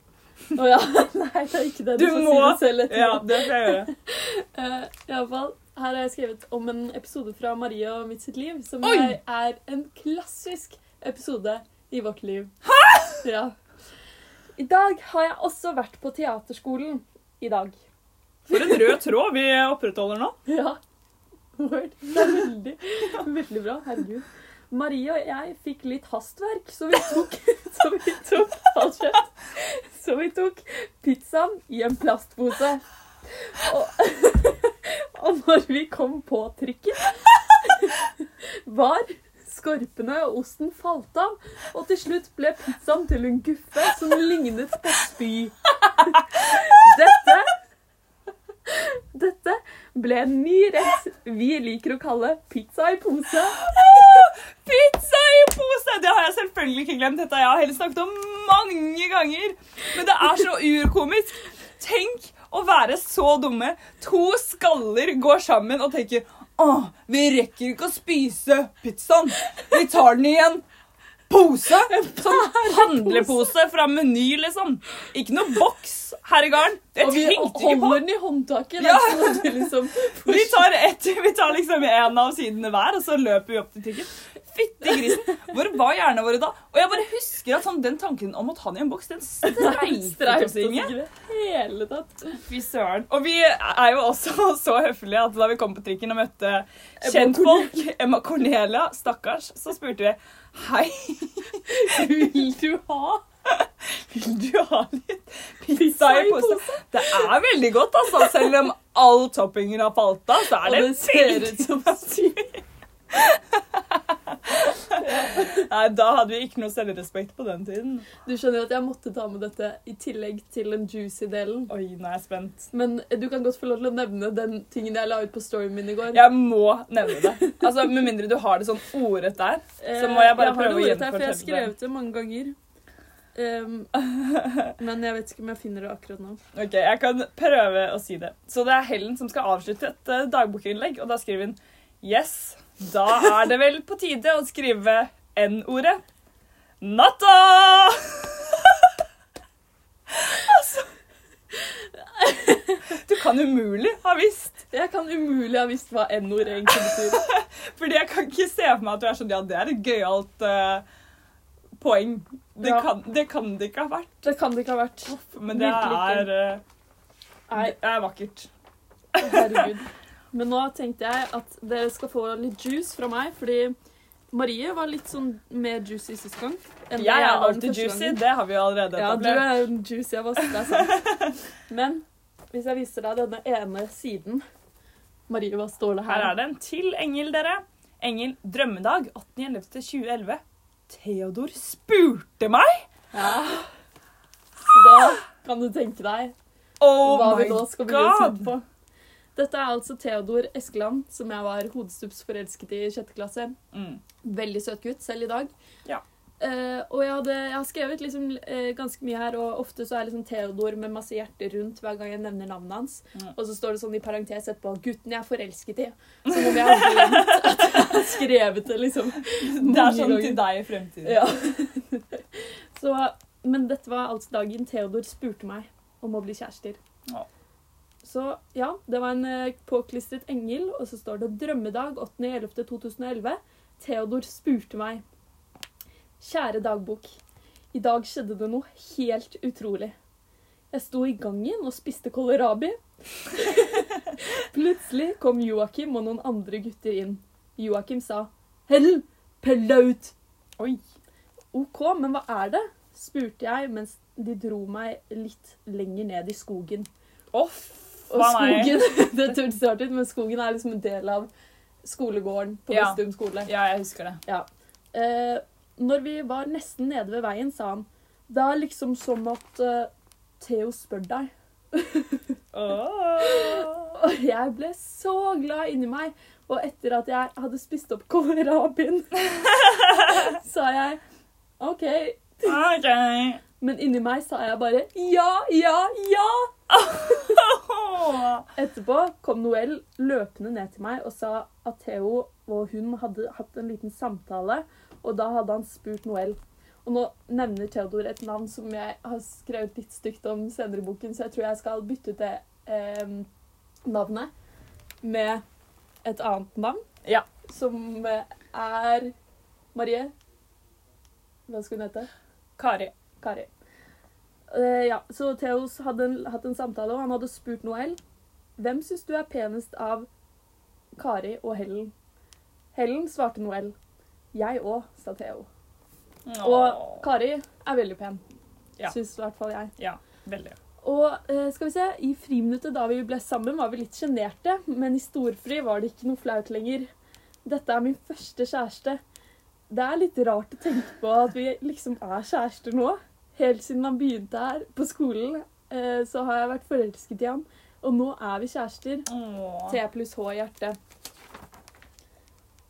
Å ja. *laughs* Nei, det er ikke det.
Du
får
må-
si det selv etterpå.
Ja, det skal jeg gjøre.
Uh, i alle fall, her har jeg skrevet om en episode fra Marie og mitt sitt liv, som
Oi!
jeg er en klassisk episode i vårt liv. Hæ?! Ja. I dag har jeg også vært på teaterskolen. I dag.
For en rød tråd vi opprettholder nå.
Ja. Word. Det er veldig, veldig bra. Herregud. Marie og jeg fikk litt hastverk, så vi tok *laughs* Så vi tok halvt kjøtt. Så vi tok pizzaen i en plastpose. *laughs* Og, og når vi kom på trikken, var skorpene og osten falt av, og til slutt ble pizzaen til en guffe som lignet på spy. Dette Dette ble en ny rett vi liker å kalle pizza i pose.
Pizza i pose! Det har jeg selvfølgelig ikke glemt. Dette har jeg heller snakket om mange ganger. Men det er så urkomisk. Tenk å være så dumme. To skaller går sammen og tenker Åh, vi rekker ikke å spise pizzaen. Vi tar den i en pose. Sånn handlepose fra Meny, liksom. Ikke noe boks her i gården. Det
Og vi
tenkte ikke på.
holder den i håndtaket.
Ja.
Ja. Sånn at du
*laughs*
liksom
Vi tar, ett- vi tar liksom en av sidene hver, og så løper vi opp til trikken. Fytti grisen! Hvor var hjernene våre da? Og jeg bare husker at sånn, den tanken om å ta den i en boks, den streifet oss
streifet
ikke.
i det hele tatt.
Fy søren. Og vi er jo også *laughs* så høflige at da vi kom på trikken og møtte kjentfolk, *laughs* Emma Cornelia, stakkars, så spurte vi Hei,
Vil du ha?
vil du ha litt pizza i pose? Det er veldig godt, altså. Selv om all toppingen har falt av, så
Og
er det
det ser
veldig
ut som spy.
Nei, da hadde vi ikke noe selvrespekt på den tiden.
Du skjønner jo at jeg måtte ta med dette i tillegg til den juicy-delen.
Oi, nå er jeg spent.
Men eh, du kan godt få lov til å nevne den tingen jeg la ut på storyen min i går.
Jeg må nevne det. Altså, Med mindre du har det sånn ordrett der. så må jeg bare prøve
gjenfortelle det. For Eh,
å
jeg har
gjenfortelle
skrevet det mange ganger. Um, *laughs* men jeg vet ikke om jeg finner det akkurat nå.
Ok, Jeg kan prøve å si det. Så det er Helen som skal avslutte et eh, dagbokinnlegg, og da skriver hun Yes, da er det vel på tide å skrive N-ordet. Natta! altså Du kan umulig ha visst
Jeg kan umulig ha visst hva n-ord egentlig betyr.
Fordi jeg kan ikke se for meg at du er sånn Ja, det er et gøyalt eh, poeng. Det,
Ja.
kan, det kan det ikke ha vært.
Det kan det ikke ha vært.
Men det
Virkelig
er, eh,
Nei,
det er vakkert.
herregud. Men nå tenkte jeg at dere skal få litt juice fra meg, fordi Marie var litt sånn mer juicy sist gang. enn
Jeg er
var den
alltid
første
juicy.
gangen.
Det har vi jo allerede
Ja, du
etablert.
er en juicy av oss, det er sant. Men hvis jeg viser deg denne ene siden Marie, hva står det her?
Her er det en til engel, dere. Engel drømmedag 18.11.2011. Theodor spurte meg!
Ja. Så da kan du tenke deg
Oh
hva vi
my
nå skal bli
god!
sint på. Dette er altså Theodor Eskeland, som jeg var hodestups forelsket i i sjette klasse.
Mm.
Veldig søt gutt, selv i dag.
Ja.
Eh, og jeg, hadde, jeg har skrevet liksom, eh, ganske mye her, og ofte så er liksom Theodor med masse hjerter rundt hver gang jeg nevner navnet hans.
Mm.
Og så står det sånn i parentes etterpå 'gutten jeg er forelsket i'. Som om jeg har glemt at jeg har skrevet det, liksom.
Det er
mange
sånn til
ganger.
deg i fremtiden.
Ja. *laughs* Så, men dette var altså dagen Theodor spurte meg om å bli kjærester.
Ja.
Så ja, det var en eh, påklistret engel, og så står det 'Drømmedag 8.11.2011'. Theodor spurte meg. Kjære dagbok. I dag skjedde det noe helt utrolig. Jeg sto i gangen og spiste kålrabi. *laughs* Plutselig kom Joakim og noen andre gutter inn. Joakim sa 'Hell, pell deg ut'.
Oi.
OK, men hva er det? spurte jeg mens de dro meg litt lenger ned i skogen.
Å,
Og
faen meg.
skogen, *laughs* det turtes rart ut, men skogen er liksom en del av skolegården på
Ja.
Vestum skole.
Ja, jeg husker
*laughs*
det.
Ja. Eh, når vi var nesten nede ved veien, sa han Det er liksom som at eh, Theo spør deg. *laughs*
Åh.
Og jeg ble så glad inni meg. Og etter at jeg hadde spist opp kålrabien, *laughs* sa jeg OK.
Ok.
Men inni meg sa jeg bare ja, ja, ja.
Åh.
Etterpå kom Noel løpende ned til meg og sa at Theo og hun hadde hatt en liten samtale, og da hadde han spurt Noel. Og nå nevner Theodor et navn som jeg har skrevet litt stygt om senere i boken, så jeg tror jeg skal bytte ut det eh, navnet med et annet navn.
Ja.
Som eh, er Marie. Hva skulle hun hete?
Kari.
Kari. Eh, ja, så Theos hadde en, hatt en samtale, og han hadde spurt Noel hvem syns du er penest av Kari og Helen. Helen svarte Noel. Jeg òg, sa Theo. Og
Åh.
Kari er veldig pen.
Ja.
Syns i hvert fall jeg.
Ja, veldig.
Og eh, skal vi se, i friminuttet da vi ble sammen, var vi litt sjenerte, men i storfri var det ikke noe flaut lenger. Dette er min første kjæreste. Det er litt rart å tenke på at vi liksom er kjærester nå. Helt siden han begynte her på skolen, eh, så har jeg vært forelsket i ham. Og nå er vi kjærester. T
Åh.
pluss H i hjertet.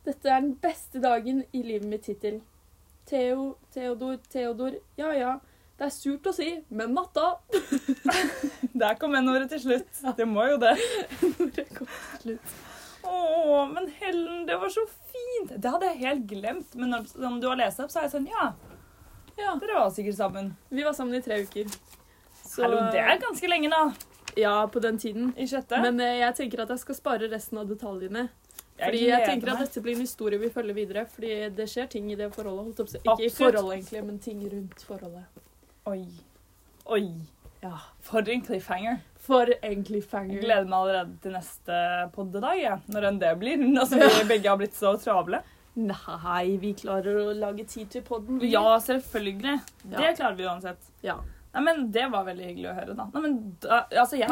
Dette er den beste dagen i livet mitt hittil. Theo, Theodor, Theodor. Ja ja, det er surt å si, men natta! *laughs*
Der kom N-ordet til slutt. Det må jo det.
Ordet kom til slutt.
Åh, men Helen, det var så fint. Det hadde jeg helt glemt. Men når som du har lest opp, så er jeg sånn Ja,
Ja,
dere var sikkert sammen.
vi var sammen i tre uker. Så-
Hallo, det er ganske lenge, da.
Ja, på den tiden.
I sjette.
Men eh, jeg tenker at jeg skal spare resten av detaljene.
Jeg
Fordi jeg
gleder
tenker at
meg.
dette blir en historie vi følger videre. Fordi det skjer ting i det forholdet. Holdt opp, å si. ikke i
Absolutt.
forholdet egentlig, men ting rundt forholdet.
Oi. Oi.
Ja.
For en cliffhanger.
For en cliffhanger.
Jeg gleder meg allerede til neste poddedag, jeg. Når enn det blir. *laughs* Altså, vi begge har blitt så travle.
Nei, vi klarer å lage tid til podden. vi.
Ja, selvfølgelig. Det
Ja.
klarer vi uansett.
ja.
Nei, men Det var veldig hyggelig å høre, da. Nei, men da, Altså, jeg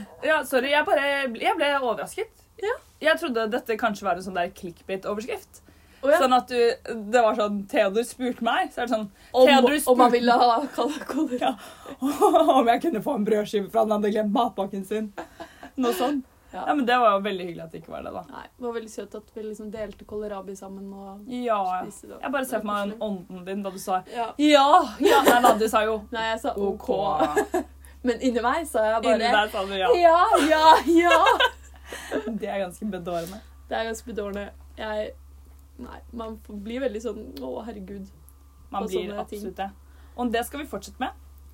*laughs*
ja, Sorry, jeg bare Jeg ble overrasket.
Ja.
Jeg trodde dette kanskje var en sånn der clickbait-overskrift.
Og ja,
Sånn at du Det var sånn Theodor spurte meg, så er det sånn *laughs*
om, om
Theodor
man
spurte-
ville ha kald kolera.
Ja. Om jeg kunne få en brødskive, for han hadde glemt matpakken sin. Noe sånn.
Ja.
Ja, men det var jo veldig hyggelig at det ikke var det, da.
Nei, det var veldig søtt at vi liksom delte kålrabi sammen og
Ja.
spiste det.
Jeg bare ser for meg den ånden din da du sa
Ja.
Ja! ja nei da, du sa jo
Nei, jeg sa OK.
OK.
Men inni meg sa jeg
Inni
bare
der sa du ja.
Ja, ja, ja.
Det er ganske bedårende.
Det er ganske bedårende. Jeg Nei, man får- blir veldig sånn Å, herregud.
Man
Og
blir
sånne ting.
absolutt det. Og det skal vi fortsette med.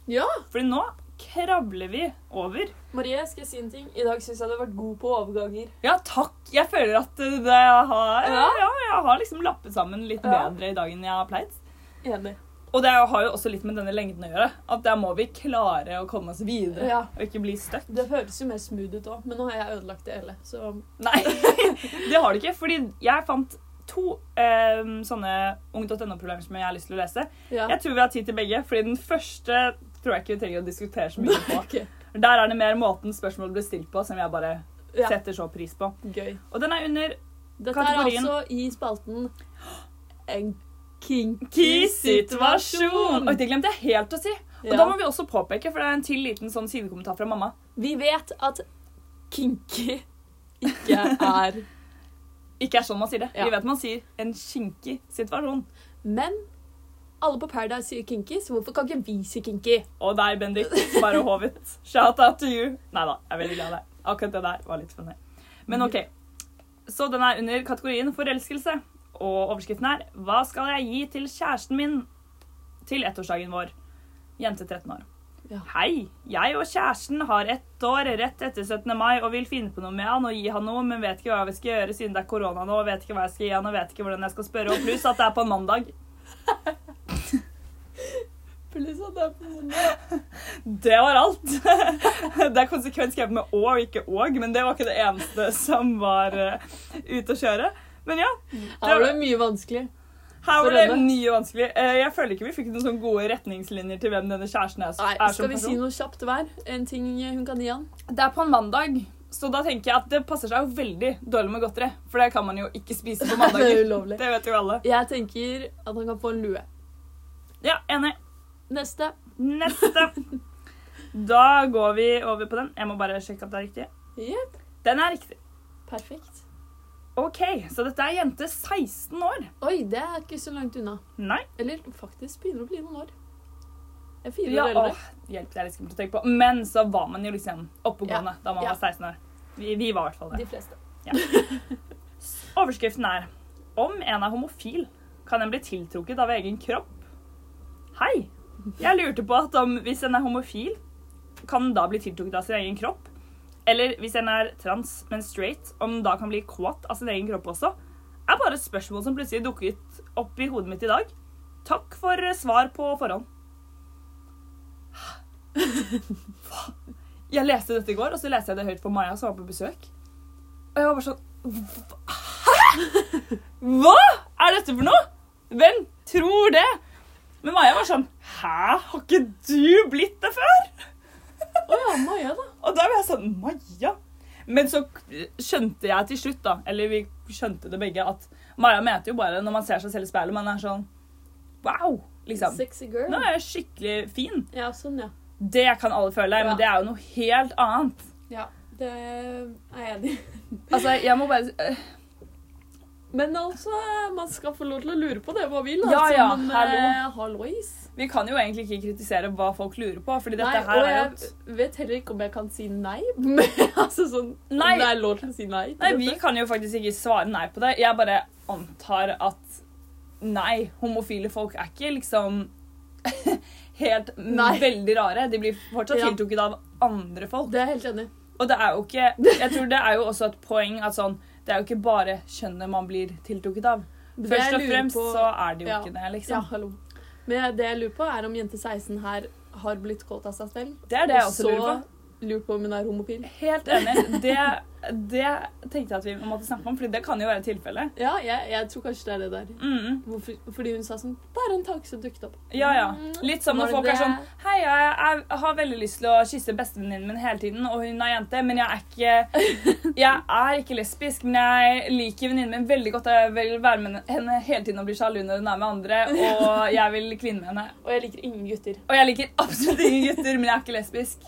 Ja.
Fordi nå krabler vi over.
Marie, skal jeg si en ting? I dag syns jeg du har vært god på overganger.
Ja, takk. Jeg føler at uh, det jeg har
Ja.
ja. jeg har liksom lappet sammen litt
Ja.
bedre i dag enn jeg har pleid.
Enig.
Og det har jo også litt med denne lengden å gjøre. At der må vi klare å komme oss videre.
Ja.
Og ikke bli stuck.
Det høres jo mer smooth ut òg, men nå har jeg ødelagt det hele, så
Nei, *laughs* det har du ikke. Fordi jeg fant to eh, sånne ung.no-programmer som jeg har lyst til å lese.
ja.
Jeg tror vi har tid til begge, fordi den første tror jeg ikke vi trenger å diskutere så mye på.
Ok.
Der er det mer måten spørsmål blir stilt på, som jeg bare
Ja.
setter så pris på.
Gøy.
Og den er under
Dette
Kategorien-
er altså i spalten En kinky
Ki-situasjon! Oi, det glemte jeg helt å si. Og
Ja.
da må vi også påpeke, for det er en til liten sånn sidekommentar fra mamma.
Vi vet at kinky ikke er
Ikke er sånn man sier det.
Ja.
Vi vet man sier en kinkig situasjon.
Men alle på Paradise sier kinky, så hvorfor kan ikke vi si kinky?
Og deg, Bendik, som bare hovet. Shout out to you. Nei da, jeg er veldig glad i deg. Akkurat det der var litt funny. Men OK. Så den er under kategorien forelskelse. Og overskriften er Hva skal jeg gi til kjæresten min til ettårsdagen vår? Jente 13 år.
Ja.
Hei! Jeg og kjæresten har ett år rett etter 17. mai og vil finne på noe med han og gi han noe, men vet ikke hva vi skal gjøre siden det er korona nå, og vet ikke hva jeg skal gi han, og vet ikke hvordan jeg skal spørre, og pluss at det er på en mandag. Det var alt. *laughs* Det er konsekvent skrevet med å og ikke og, men det var ikke det eneste som var eh, ute å kjøre. Men ja,
Her var det mye vanskelig.
her var
For
det
henne.
mye vanskelig. Eh, Jeg føler ikke vi fikk noen sånne gode retningslinjer til hvem denne kjæresten er,
Nei,
er
skal
som
vi si
person.
noe kjapt hver? En ting hun kan gi han?
Det er på en mandag, så da tenker jeg at det passer seg jo veldig dårlig med godteri. For det kan man jo ikke spise
*laughs*
på
Det er
mandager.
ulovlig.
Det vet jo alle.
Jeg tenker at han kan få en lue.
Ja, enig.
Neste.
Neste. Da går vi over på den. Jeg må bare sjekke at det er riktig.
Jepp.
Den er riktig.
Perfekt.
OK, så dette er jente 16 år.
Oi, det er ikke så langt unna.
Nei.
Eller faktisk begynner det å bli noen år. Jeg er fire
Ja,
år eldre.
åh, hjelp, det er litt skummelt å tenke på. Men så var man jo liksom oppegående da man
Ja.
var 16 år. Vi, vi var i hvert fall det.
De fleste.
Overskriften er Om en er homofil, kan en bli tiltrukket av egen kropp? Hei! Jeg lurte på at om, hvis en er homofil, kan en da bli tiltrukket av sin egen kropp? Eller hvis en er trans, men straight, om en da kan bli kåt av sin egen kropp også? Er bare et spørsmål som plutselig dukket opp i hodet mitt i dag. Takk for eh, svar på forhånd. Hva? Jeg leste dette i går, og så leste jeg det høyt for Maja, som var på besøk. Og jeg var bare sånn hva er dette for noe? Hvem tror det? Men Maja var sånn Hæ, har ikke du blitt det før?
Å faen Maja, da?
Og da var jeg sånn Maja? Men så k- skjønte jeg til slutt, da, eller vi skjønte det begge, at Maja mente jo bare når man ser seg selv i speilet, man er sånn Wow! Liksom.
Sexy girl.
Nå er jeg skikkelig fin.
Ja, sånn, ja.
Det kan alle føle,
Ja.
men det er jo noe helt annet.
Ja, det er jeg enig i.
Altså, jeg må bare eh,
Men altså, man skal få lov til å lure på det hva vil.
Ja,
altså,
ja,
men,
hallo.
eh, hallois.
Vi kan jo egentlig ikke kritisere hva folk lurer på, fordi dette
Nei,
her
og
er jo
jeg vet heller ikke om jeg kan si nei. *laughs* Men altså sånn
Nei.
Om det er lov til å si nei. til
Nei, vi
dette.
kan jo faktisk ikke svare nei på det. Jeg bare antar at nei, homofile folk er ikke liksom *laughs* helt m-
Nei.
veldig rare. De blir fortsatt
Ja.
tiltrukket av andre folk.
Det er jeg helt enig i.
Og det er jo
*laughs*
ikke Jeg tror det er jo også et poeng at sånn Det er jo ikke bare kjønnet man blir tiltrukket av.
Det jeg
Først og
lurer
fremst
på-
så er det jo
Ja.
ikke det,
Ja,
liksom.
hallo. Men det jeg lurer på, er om jente 16 her har blitt kåt av seg selv.
Det er det jeg også
så
lurer på.
lurer på om hun er homofil.
Helt enig. Det, det tenkte jeg at vi måtte snakke om, for det kan jo være
*laughs*
tilfellet.
Ja, jeg, jeg tror kanskje det er det der.
Mm.
Hvorfor, fordi hun sa sånn Bare en tanke som dukket opp.
Ja, ja. Litt som
Var
når folk
Mm. det-
er sånn Hei, jeg, jeg har veldig lyst til å kysse bestevenninnen min hele tiden, og hun er jente, men jeg er
*laughs*
ikke Jeg er ikke lesbisk, men jeg liker venninnen min veldig godt. og Jeg vil være med henne hele tiden og bli sjalu når hun er med andre,
*laughs*
og jeg vil kline med henne.
Og jeg liker ingen gutter.
Og jeg liker absolutt ingen gutter, men jeg er ikke lesbisk.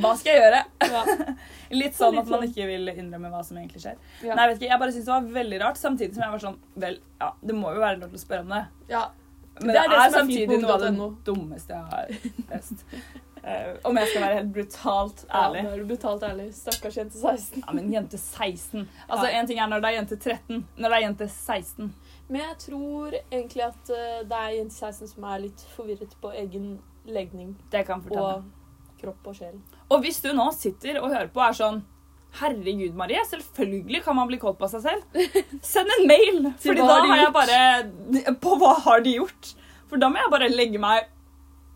Hva skal jeg gjøre? *laughs*
Ja.
Litt sånn at man ikke vil innrømme hva som egentlig skjer.
Ja.
Nei, jeg vet ikke, jeg bare synes det var veldig rart, samtidig som jeg var sånn Vel, ja, det må jo være lov til å spørre om det.
ja.
Men
Det
det
er det
er,
som er fint
samtidig
med
noe av det
ungdom.no.
dummeste jeg har lest. Eh, om jeg skal være helt brutalt
Ja,
ærlig.
nå er du brutalt ærlig. Stakkars jente 16.
Ja, men jente 16 Altså,
Ja.
En ting er når det er jente 13, når det er jente 16.
Men jeg tror egentlig at eh, det er jente 16 som er litt forvirret på egen legning
Det kan jeg fortelle.
og kropp og sjel.
Og, hvis du nå sitter og hører på og er sånn Herregud, Marie. Selvfølgelig kan man bli kåt på seg selv.
*laughs*
Send en mail!
Til
Fordi
hva
da
har de
har jeg
gjort?
bare På hva har de gjort? For da må jeg bare legge meg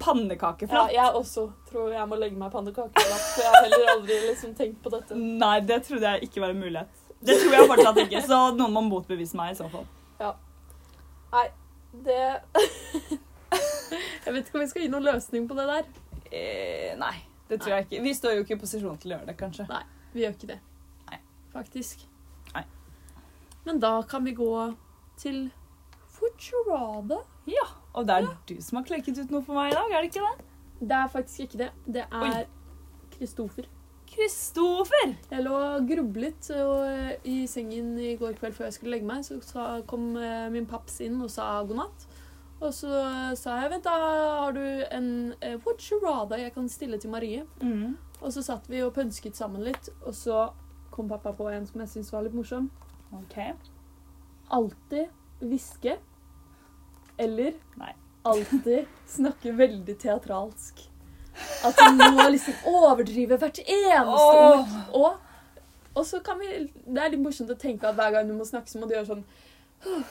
Ja,
pannekakeflat.
jeg også tror jeg må legge meg pannekakelapp, for jeg har heller aldri liksom tenkt på dette.
Nei, det trodde jeg ikke var en mulighet. Det tror jeg fortsatt ikke, så noen må motbevise meg i så fall.
Nei, det Jeg vet ikke om vi skal gi noen løsning på det der.
Eh, nei, det tror jeg ikke. Vi står jo ikke i posisjon til å gjøre det, kanskje.
Vi gjør ikke det.
Nei.
Faktisk.
Nei.
Men da kan vi gå til Futurada.
Ja, Og det er du som har klekket ut noe for meg i dag, er det ikke det?
Det er faktisk ikke det. Det er
Oi.
Kristoffer.
Kristoffer!
Jeg lå og grublet og, eh, i sengen i går kveld før jeg skulle legge meg. Så sa, kom eh, min paps inn og sa god natt. Og så eh, sa jeg vent, da har du en eh, Futurada jeg kan stille til Marie.
Mm.
Og så satt vi og pønsket sammen litt, og så kom pappa på en som jeg syntes var litt morsom.
Ok.
Alltid hviske. Eller
Nei.
alltid *laughs* snakke veldig teatralsk. At du må liksom overdrive hvert eneste ord.
Åh.
Og, og så kan vi Det er litt morsomt å tenke at hver gang du må snakke, så må du gjøre sånn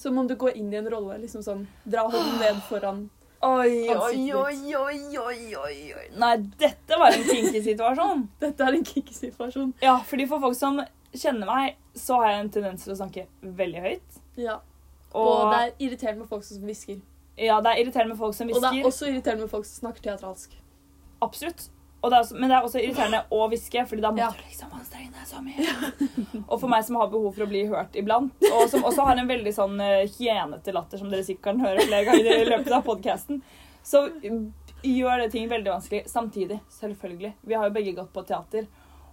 Som om du går inn i en rolle. liksom sånn, Dra hodet ned foran.
Oi,
Ansiktet
oi, oi, oi, oi, oi, oi. Nei, dette var en kinky situasjon.
Dette er en kikkesituasjon.
Ja, fordi for folk som kjenner meg, så har jeg en tendens til å snakke veldig høyt.
Ja.
Og,
Og, det er irriterende med folk som hvisker.
ja, det er irriterende med folk som
Og det er
hvisker.
også irriterende med folk som snakker teatralsk.
Absolutt. Og det er også, men det er også irriterende å hviske, fordi da må
Ja.
du liksom anstrenge deg så mye. Og for meg som har behov for å bli hørt iblant, og som også har en veldig sånn eh, hyenete latter, som dere sikkert kan høre flere ganger i løpet av podkasten, så mm, gjør det ting veldig vanskelig samtidig. Selvfølgelig. Vi har jo begge gått på teater,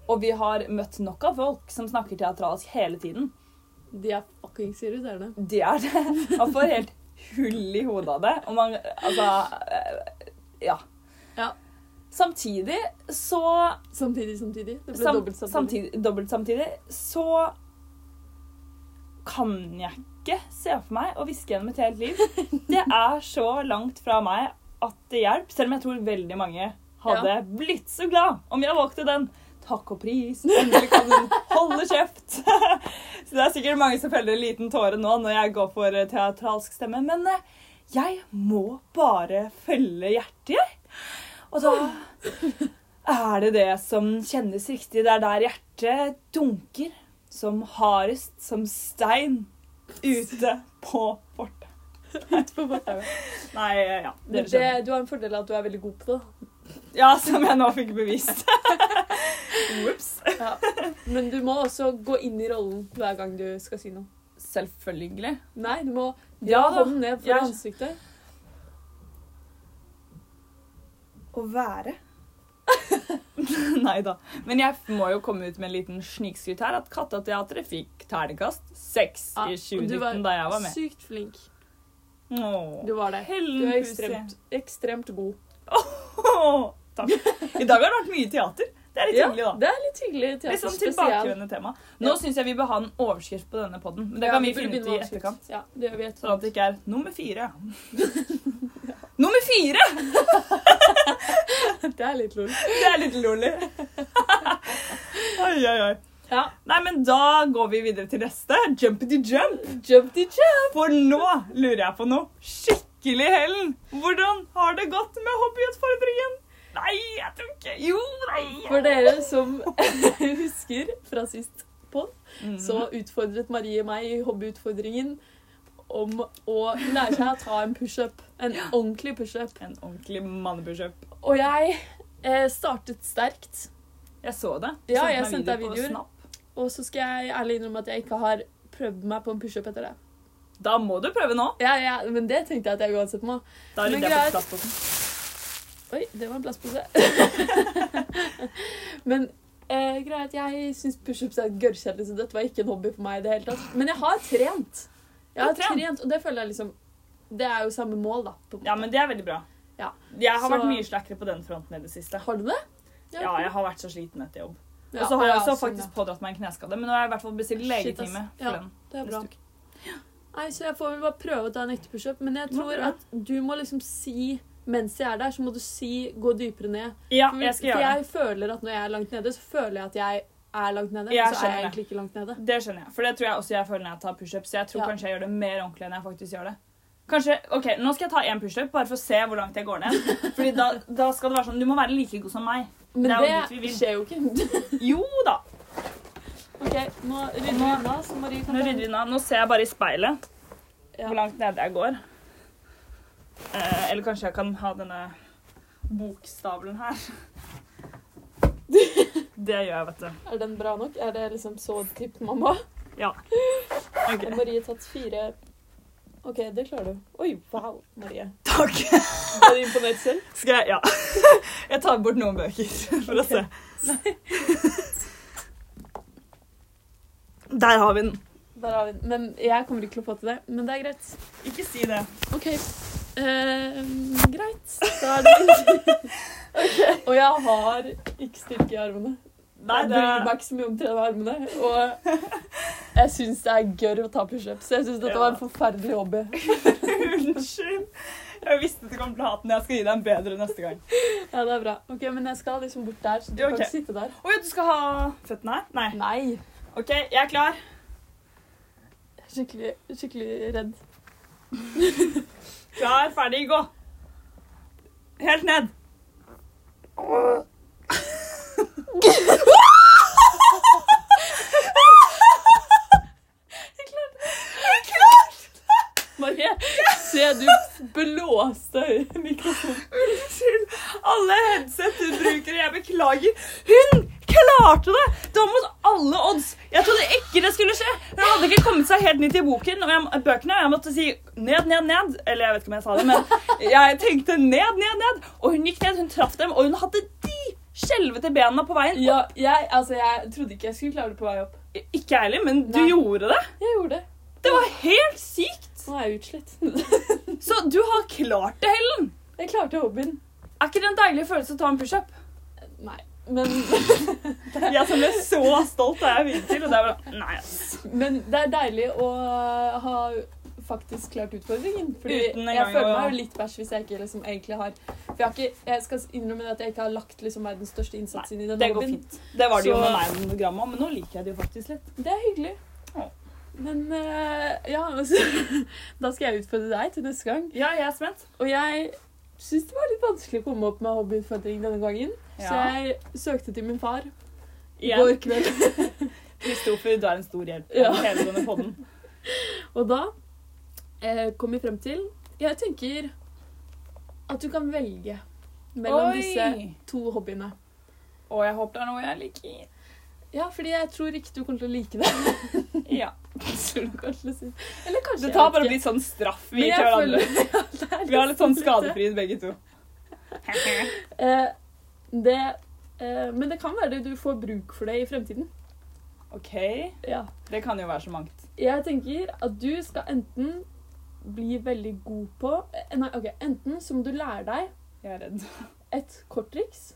og vi har møtt nok av folk som snakker teatralsk hele tiden.
De er fuckings irriterende.
Det er det. Man får helt hull i hodet av det. Og man Altså eh, Ja.
Ja.
Samtidig så
Samtidig, samtidig. Det ble
Sam,
dobbelt samtidig.
samtidig, dobbelt samtidig, så kan jeg ikke se for meg å hviske gjennom et helt liv. Det er så langt fra meg at det hjelper, selv om jeg tror veldig mange hadde blitt så glad om jeg valgte den. Takk og pris, endelig kan hun holde kjeft. *laughs* så det er sikkert mange som feller en liten tåre nå når jeg går for eh, teatralsk stemme, men eh, jeg må bare følge hjertet, jeg. Og da er det det som kjennes riktig. Det er der hjertet dunker som hardest, som stein, ute på fortet.
*laughs* på fortauet.
Nei, ja.
Men
Dere skjønner.
det, du har en fordel av at du er veldig god på det.
Ja, som jeg nå fikk
*laughs*
bevist. Ops.
Men du må også gå inn i rollen hver gang du skal si noe.
Selvfølgelig.
Nei, du må dra
Ja da,
hånden ned for
jeg-
ansiktet.
Å være? *laughs* Nei da. Men jeg må jo komme ut med en liten snikskryt her. At Kattateatret fikk terningkast seks
Ja, Ah,
i
og du
2019
var
da jeg var med.
Sykt flink.
Åh.
Du var det. Du er ekstremt, ekstremt god.
*laughs* Åh, Takk. I dag har det vært mye teater. Det er litt hyggelig, da.
det er litt hyggelig. Teater
Litt sånn
spesial.
tilbakevendende tema. Nå
Ja.
synes syns jeg vi bør ha en overskrift på denne podden. Men det
Ja,
kan vi
burde
finne ut
begynne
i
med avskrift.
etterkant.
Ja, det gjør vi
Sånn at
etterkant.
det ikke er nummer fire. nummer fire!
*laughs*
*laughs*
Det er litt lol.
Det er litt lolly. oi, oi, oi.
Ja.
Nei, men da går vi videre til neste. Jumpity jump.
Jumpty jump.
For nå lurer jeg på noe skikkelig, Helen. Hvordan har det gått med hobbyutfordringen? Nei, jeg tror ikke Jo, nei.
For dere som *laughs* husker fra sist podd,
Mm.
så utfordret Marie meg i hobbyutfordringen om å lære seg å ta en pushup. En ordentlig pushup.
En ordentlig mannebushup.
Og jeg eh, startet sterkt.
Jeg så det.
Ja, jeg
meg
sendte deg
video på
videoer.
Snap.
Og så skal jeg ærlig innrømme at jeg ikke har prøvd meg på en pushup etter det.
Da må du prøve nå.
Ja, ja, Men det tenkte jeg at jeg uansett må.
Da
Men
rydder jeg
greit.
på plastposen.
Oi, det var en
*laughs*
plastpose. men eh, greit, jeg syns pushups er gørrkjedelig, så dette var ikke en hobby for meg i det hele tatt. Men jeg har trent. Jeg har
Du har trent.
trent. og det føler jeg liksom Det er jo samme mål, da. På en måte.
Ja, men det er veldig bra.
Ja.
Jeg har
Så-
vært mye slakkere på den fronten i det siste.
Har du det?
Ja, jeg har vært så sliten etter jobb.
Ja,
og så har jeg
ja,
også
sånn,
faktisk pådratt meg en kneskade, men nå har jeg i hvert fall bestilt
Shit,
legetime
ass.
for
Ja. ja.
den.
Det er
neste
bra.
uke.
Nei, så jeg får vel bare prøve å ta en ekte pushup. Men jeg
Du må
tror
prøve.
at du må liksom si mens jeg er der, så må du si 'gå dypere ned'.
Ja,
For-
jeg skal
for
gjøre det.
jeg føler at når jeg er langt nede, så føler jeg at jeg er langt nede. men
Jeg
så er
skjønner
jeg
det.
egentlig ikke langt nede.
Det skjønner jeg, for det tror jeg også jeg føler når jeg tar pushups. Jeg tror
Ja.
kanskje jeg gjør det mer ordentlig enn jeg faktisk gjør det. Kanskje, ok, Nå skal jeg ta én pushup, bare for å se hvor langt jeg går ned. Fordi da, da skal det være sånn Du må være like god som meg.
Men
Det er jo dit vi
det,
vil.
skjer jo ikke. *laughs*
Jo da.
OK, nå rydder vi unna, så Marie kan
Nå rydder vi unna. Nå ser jeg bare i speilet
Ja.
hvor langt nede jeg går. Eh, eller kanskje jeg kan ha denne bokstavlen
*laughs*
her. Det gjør jeg, vet du.
Er den bra nok? Er det liksom så dypt, mamma?
Ja. Ok.
Har Marie tatt fire OK, det klarer du. Oi, wow, Marie.
Takk.
Er du imponert selv?
Skal jeg Ja. *laughs* Jeg tar bort noen bøker *laughs* for å se. Der har vi den.
Der har vi den. Men jeg kommer ikke til å få til det. Men det er greit.
Ikke si det.
OK. Eh, greit. Da er det *laughs* Og jeg har ikke styrke i armene.
Nei,
jeg
det
bryr meg ikke så mye om trene armene. Og jeg syns det er gørr å ta pushups. Jeg syns dette
Ja.
var en forferdelig hobby.
*laughs* Unnskyld. Jeg visste du kom til å hate den. Jeg skal gi deg en bedre neste gang.
Ja, det er bra. Ok, Men jeg skal liksom bort der, så du
Ja, ok.
kan ikke sitte der.
Å ja, du skal ha føttene her? Nei.
Nei.
OK, jeg er klar.
Jeg er skikkelig, skikkelig redd.
Klar, ferdig, gå. Helt *laughs* ned.
Jeg klarte det! *laughs* Marie, se du blåste i mikrofonen.
Unnskyld. Alle headset du bruker, jeg beklager. Hun klarte det! Det var mot alle odds. Jeg trodde ikke det skulle skje. Hun hadde ikke kommet seg helt ned til boken og jeg, bøkene. og Jeg måtte si ned, ned, ned. Eller jeg vet ikke om jeg sa det, men jeg tenkte ned, ned, ned. Og hun gikk ned, hun traff dem, og hun hadde de skjelvete bena på veien.
Ja, jeg, altså, jeg trodde ikke jeg skulle klare det på vei opp.
Ikke jeg heller, men du
Nei.
gjorde det.
Jeg gjorde det.
Det var helt sykt.
Nå er jeg utslett.
Så du har klart det, Helen.
Jeg klarte hobbyen.
Er ikke det en deilig følelse å ta en pushup?
Nei. Men,
Jeg som ble så stolt da jeg fikk til. Og det er bare, nei, altså. ass.
men det er deilig å ha faktisk klart utfordringen. Fordi
Uten en gang
jeg føler
å-
meg jo litt bæsj hvis jeg ikke liksom egentlig har For jeg, har ikke, jeg skal innrømme at jeg ikke har lagt liksom verdens største innsats inn i den
det går
hobbyen.
Det var det jo
Så-
med meg med monogramma, men nå liker jeg det jo faktisk litt.
Det er hyggelig.
Ja.
Men eh, ja, *laughs* altså, da skal jeg utfordre deg til neste gang.
Ja, jeg er spent.
Og jeg syns det var litt vanskelig å komme opp med hobbyutfordring denne gangen. Så
Ja.
jeg søkte til min far i går
Igjen,
kveld.
Kristoffer, du er en stor hjelp.
Ja.
Hele denne podden.
Og da eh, kom vi frem til. Jeg tenker at du kan velge *laughs* mellom disse to hobbyene.
Og jeg håper det er noe jeg liker.
Ja, fordi jeg tror ikke du kommer til å like det. *laughs*
Ja.
Tror du kanskje det sier- Eller kanskje
Det tar
jeg vet
bare
ikke.
litt sånn straff vi
Men
gir
jeg
til hverandre.
føler- *laughs* Ja, det er
Vi har litt sånn
nesten
skadefrihet begge
*laughs*
to.
Eh, det, eh, men det kan være du får bruk for det i fremtiden.
OK.
Ja.
Det kan jo være så mangt.
Jeg tenker at du skal enten bli veldig god på eh, Nei, ok. Enten så må du lære deg
Jeg er redd.
et korttriks,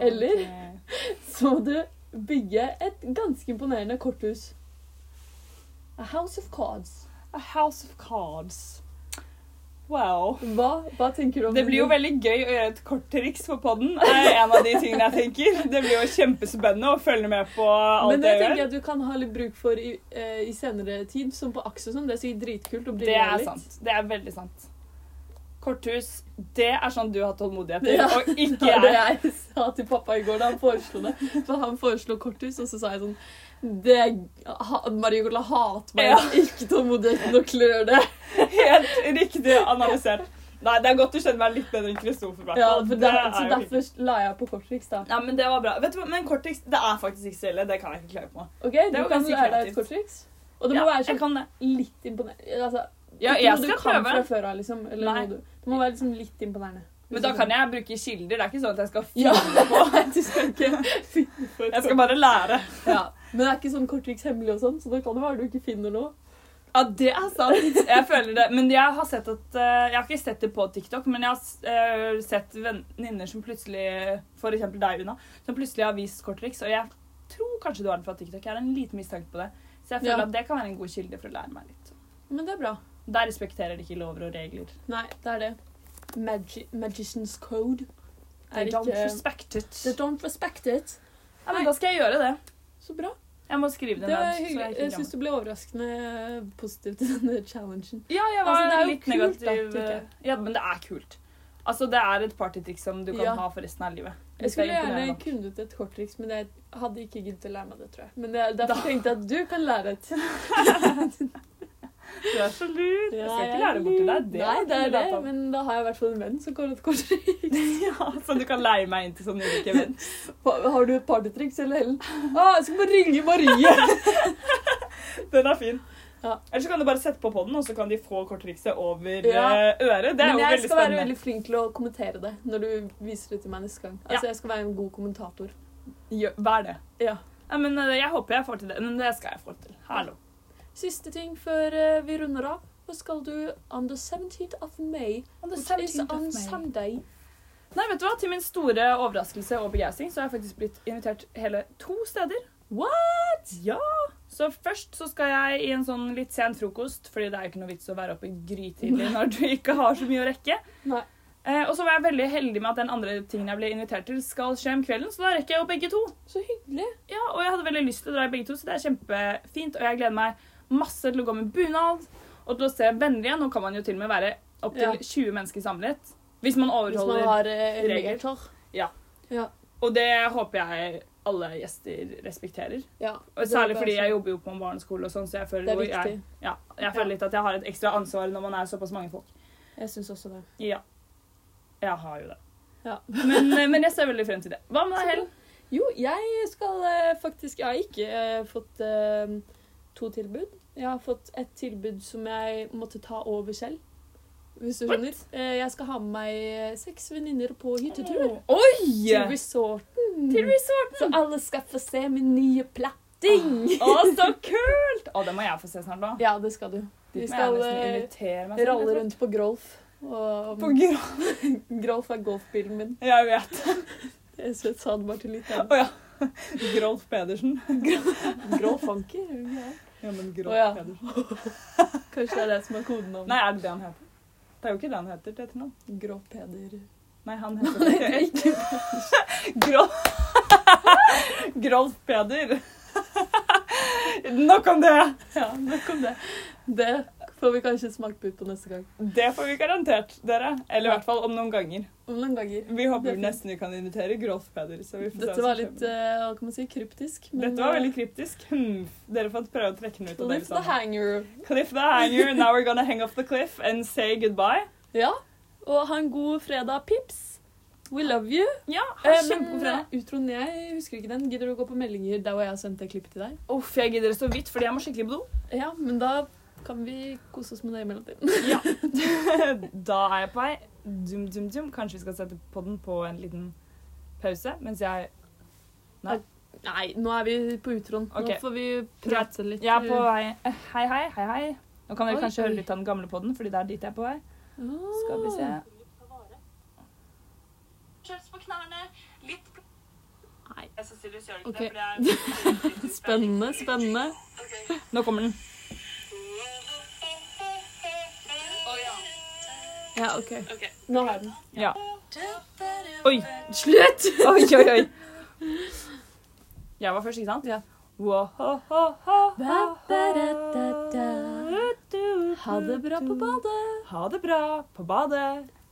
Eller?
Ok.
så må du bygge et ganske imponerende korthus. A house of cards.
A House of Cards. Wow.
Hva, hva tenker du om
Det blir jo veldig gøy å gjøre et korttriks på podden. er en av de tingene jeg tenker. Det blir jo kjempespennende å følge med på alt
Men det
jeg
tenker
gjør.
jeg at du kan ha litt bruk for i, eh, i senere tid, som på Axe og sånn. Det er sikkert dritkult å
Det
briljere
er
litt.
sant. Det er veldig sant. Korthus, det er sånn du har tålmodighet til,
*laughs* Ja.
og ikke
Det var det
jeg.
jeg sa til pappa i går da han foreslo det. For han foreslo korthus, og så sa jeg sånn det, ha, Marigola hater meg.
Ja.
*laughs* Ikke tålmodigheten nok til å gjøre
*laughs*
det.
Helt riktig analysert. Nei, det er godt du kjenner meg litt bedre enn Kristoffer. i hvert
Ja,
fall.
for
Det
der,
er
så
jo fint.
derfor la jeg på korttriks, da.
Nei, men det var bra. Vet du hva, Men korttriks det er faktisk ikke så ille. Det kan jeg ikke klage på.
Ok, Du
var
kan
ganske
lære deg et
kreativt.
korttriks. Og det
Ja,
må være
jeg
sånn
kan det.
litt imponerende. Altså,
Ja,
ikke noe
jeg skal
du kan
prøve.
fra før av, liksom. Eller noe
Nei.
du, det må være liksom litt imponerende.
Men da kan jeg bruke kilder. Det er ikke sånn at jeg skal
Ja.
finne
*laughs*
på.
Du skal ikke finne på et
*laughs* Jeg skal bare lære.
kort- ja. Men det er ikke sånn korttriks hemmelig og sånn, så det kan jo være du ikke finner noe.
Ja, det er sant. Jeg føler det. Men jeg har sett at eh, Jeg har ikke sett det på TikTok, men jeg har eh, sett venninner som plutselig For eksempel deg, Una, som plutselig har vist korttriks. Og jeg tror kanskje du har den fra TikTok. Jeg har en liten mistanke på det. Så jeg føler
Ja.
at det kan være en god kilde for å lære meg litt.
Men det er bra.
Der respekterer de ikke lover og regler.
Nei, det er det. Magi Magician's Code. Er
They don't
ikke-
respect it.
They don't respect it.
Ja, men da skal jeg gjøre det.
Så bra.
Jeg må skrive
Det
det
var
ned. så
hyggelig.
jeg ikke
Jeg syns
glemmer.
du ble overraskende *laughs* positiv til denne challengen.
Ja, jeg var
Altså, det er jo
litt
kult, da,
negativ.
tenker jeg.
ja, men det er kult. Altså, det er et partytriks som du kan
Ja.
ha for resten av livet.
Jeg
Hvis det er
skulle gjerne
imponerende.
kunnet et korttriks, men jeg hadde ikke giddet å lære meg det, tror jeg. Men jeg, derfor tenkte jeg at du kan lære et.
Du er så lur. Jeg skal
Ja,
ikke lære det bort til deg. Det
Nei,
har
det
jeg
er det,
lært om.
men da har jeg i hvert fall en venn som kan et korttriks.
*laughs* ja, Så du kan leie meg inn til sånn sånne ulike events.
Har har du et partytriks, eller Helen? Å, jeg skal bare ringe
*laughs*
Marie!
Den er fin.
Ja.
Eller så kan du bare sette på podden, og så kan de få korttrikset over
Ja.
eh, øret. Det er
Men
jo
jeg
veldig
skal være
spennende.
veldig flink til å kommentere det når du viser det til meg neste gang.
Ja.
Altså, jeg skal være en god kommentator.
Gjør- Vær det.
Ja.
Nei, men eh, Jeg håper jeg får til det. Men det skal jeg få til. Hallo.
Siste ting før eh, vi runder av. Hva skal du on the 17th of May? Which is on Sunday.
Nei, vet du hva? Til min store overraskelse og begeistring så har jeg faktisk blitt invitert hele to steder. What?! Ja! Så først så skal jeg i en sånn litt sen frokost, fordi det er jo ikke noe vits å være oppe grytidlig når du ikke har så mye å rekke.
Nei.
Eh, og så var jeg veldig heldig med at den andre tingen jeg ble invitert til, skal skje om kvelden, så da rekker jeg jo begge to.
Så hyggelig.
Ja, Og jeg hadde veldig lyst til å dra i begge to, så det er kjempefint. Og jeg gleder meg masse til å gå med bunad og til å se venner igjen. Nå kan man jo til og med være opptil
Ja.
20 mennesker samlet. Hvis man
Hvis
overholder
man har eh,
regler.
regler.
Ja.
Ja.
og det håper jeg alle gjester respekterer.
ja.
Og særlig fordi jeg jobber jo på en barneskole, og sånn, så jeg føler,
Det er
jo
viktig.
jeg, ja, jeg føler
Ja.
litt at jeg har et ekstra ansvar når man er såpass mange folk.
Jeg syns også det.
Ja. Jeg har jo det.
Ja.
Men, eh, men jeg ser veldig frem til det. Hva med deg, Helen?
Jo, jeg skal eh, faktisk Jeg har ikke eh, fått eh, to tilbud. Jeg har fått et tilbud som jeg måtte ta over selv. Hvis du
What?
skjønner. Eh, jeg skal ha med meg eh, seks venninner på hyttetur. Til
Oi!
resorten.
Til resorten!
Så alle skal få se min nye platting.
Å, så kult! Å, det må jeg få se snart, da.
Ja, det skal du.
Dit
Vi
må jeg
skal
nesten
eh,
invitere meg selv, jeg
ralle
tror.
rundt på Grolf. Og
På grå...
Grolf er golfbilen min.
Jeg vet.
Jeg sa det bare til litt.
Å
*laughs*
ja. *laughs* Grolf Pedersen.
Grolf Anker? er det ikke det?
Ja, men Grolf
Å, ja.
Pedersen.
Kanskje det er det som er kodenavnet.
Nei, er det det han heter? Det er jo ikke det han heter til etternavn.
Grolf Peder.
Nei, han heter ikke
*laughs*
*laughs* Grolf Grolf Peder. Nok om det!
Ja, nok om det. Det Får vi kanskje smakebit på neste gang.
Det får vi garantert, dere. Eller i hvert fall om noen ganger.
Om noen ganger.
Vi
Det
håper
er fint.
nesten vi kan invitere Grolf Peder. Så vi får se
Dette
hva
var
som
litt
skjer.
eh, hva kan man si, kryptisk. men,
Dette var
eh,
veldig kryptisk. Hmm. Dere får prøve å trekke den ut av dere
Lift the
sammen.
sånn hanger.
Cliff the hanger, now we're gonna hang off the cliff and say goodbye.
Ja. Og ha en god fredag, pips. We love you.
Ja, ha
Eh,
en
men
kjempegod fredag.
eh, utroen jeg husker ikke den. Gidder du å gå på meldinger der hvor jeg har sendt det klippet til deg?
eh, Uff, jeg gidder så vidt, fordi jeg må skikkelig på do.
Ja, men da kan vi kose oss med det i mellomtiden.
Ja. *laughs* da er jeg på vei. Dum, dum, dum. Kanskje vi skal sette podden på en liten pause mens jeg
Nei, nå er vi på utroen.
Ok.
Nå får vi prate litt.
Jeg er på vei eh, Hei, hei, hei, hei. Nå kan dere
Oi,
kanskje
oi.
høre litt av den gamle podden, fordi det er dit jeg er på vei.
Ah.
Skal vi se.
Kjøps på knærne, litt
Nei.
Jeg synes Silje gjør ikke
Ok.
det, for det er
*laughs* Spennende, spennende.
Nå kommer den.
Å ja.
Ja, OK.
Ok.
Nå har jeg den.
Ja. Oi! Slutt! *laughs* Oi, oi, oi. Jeg var først, ikke sant?
Ja.
Wa-ha-ha-ha.
Ha det bra på badet.
Ha det bra på badet.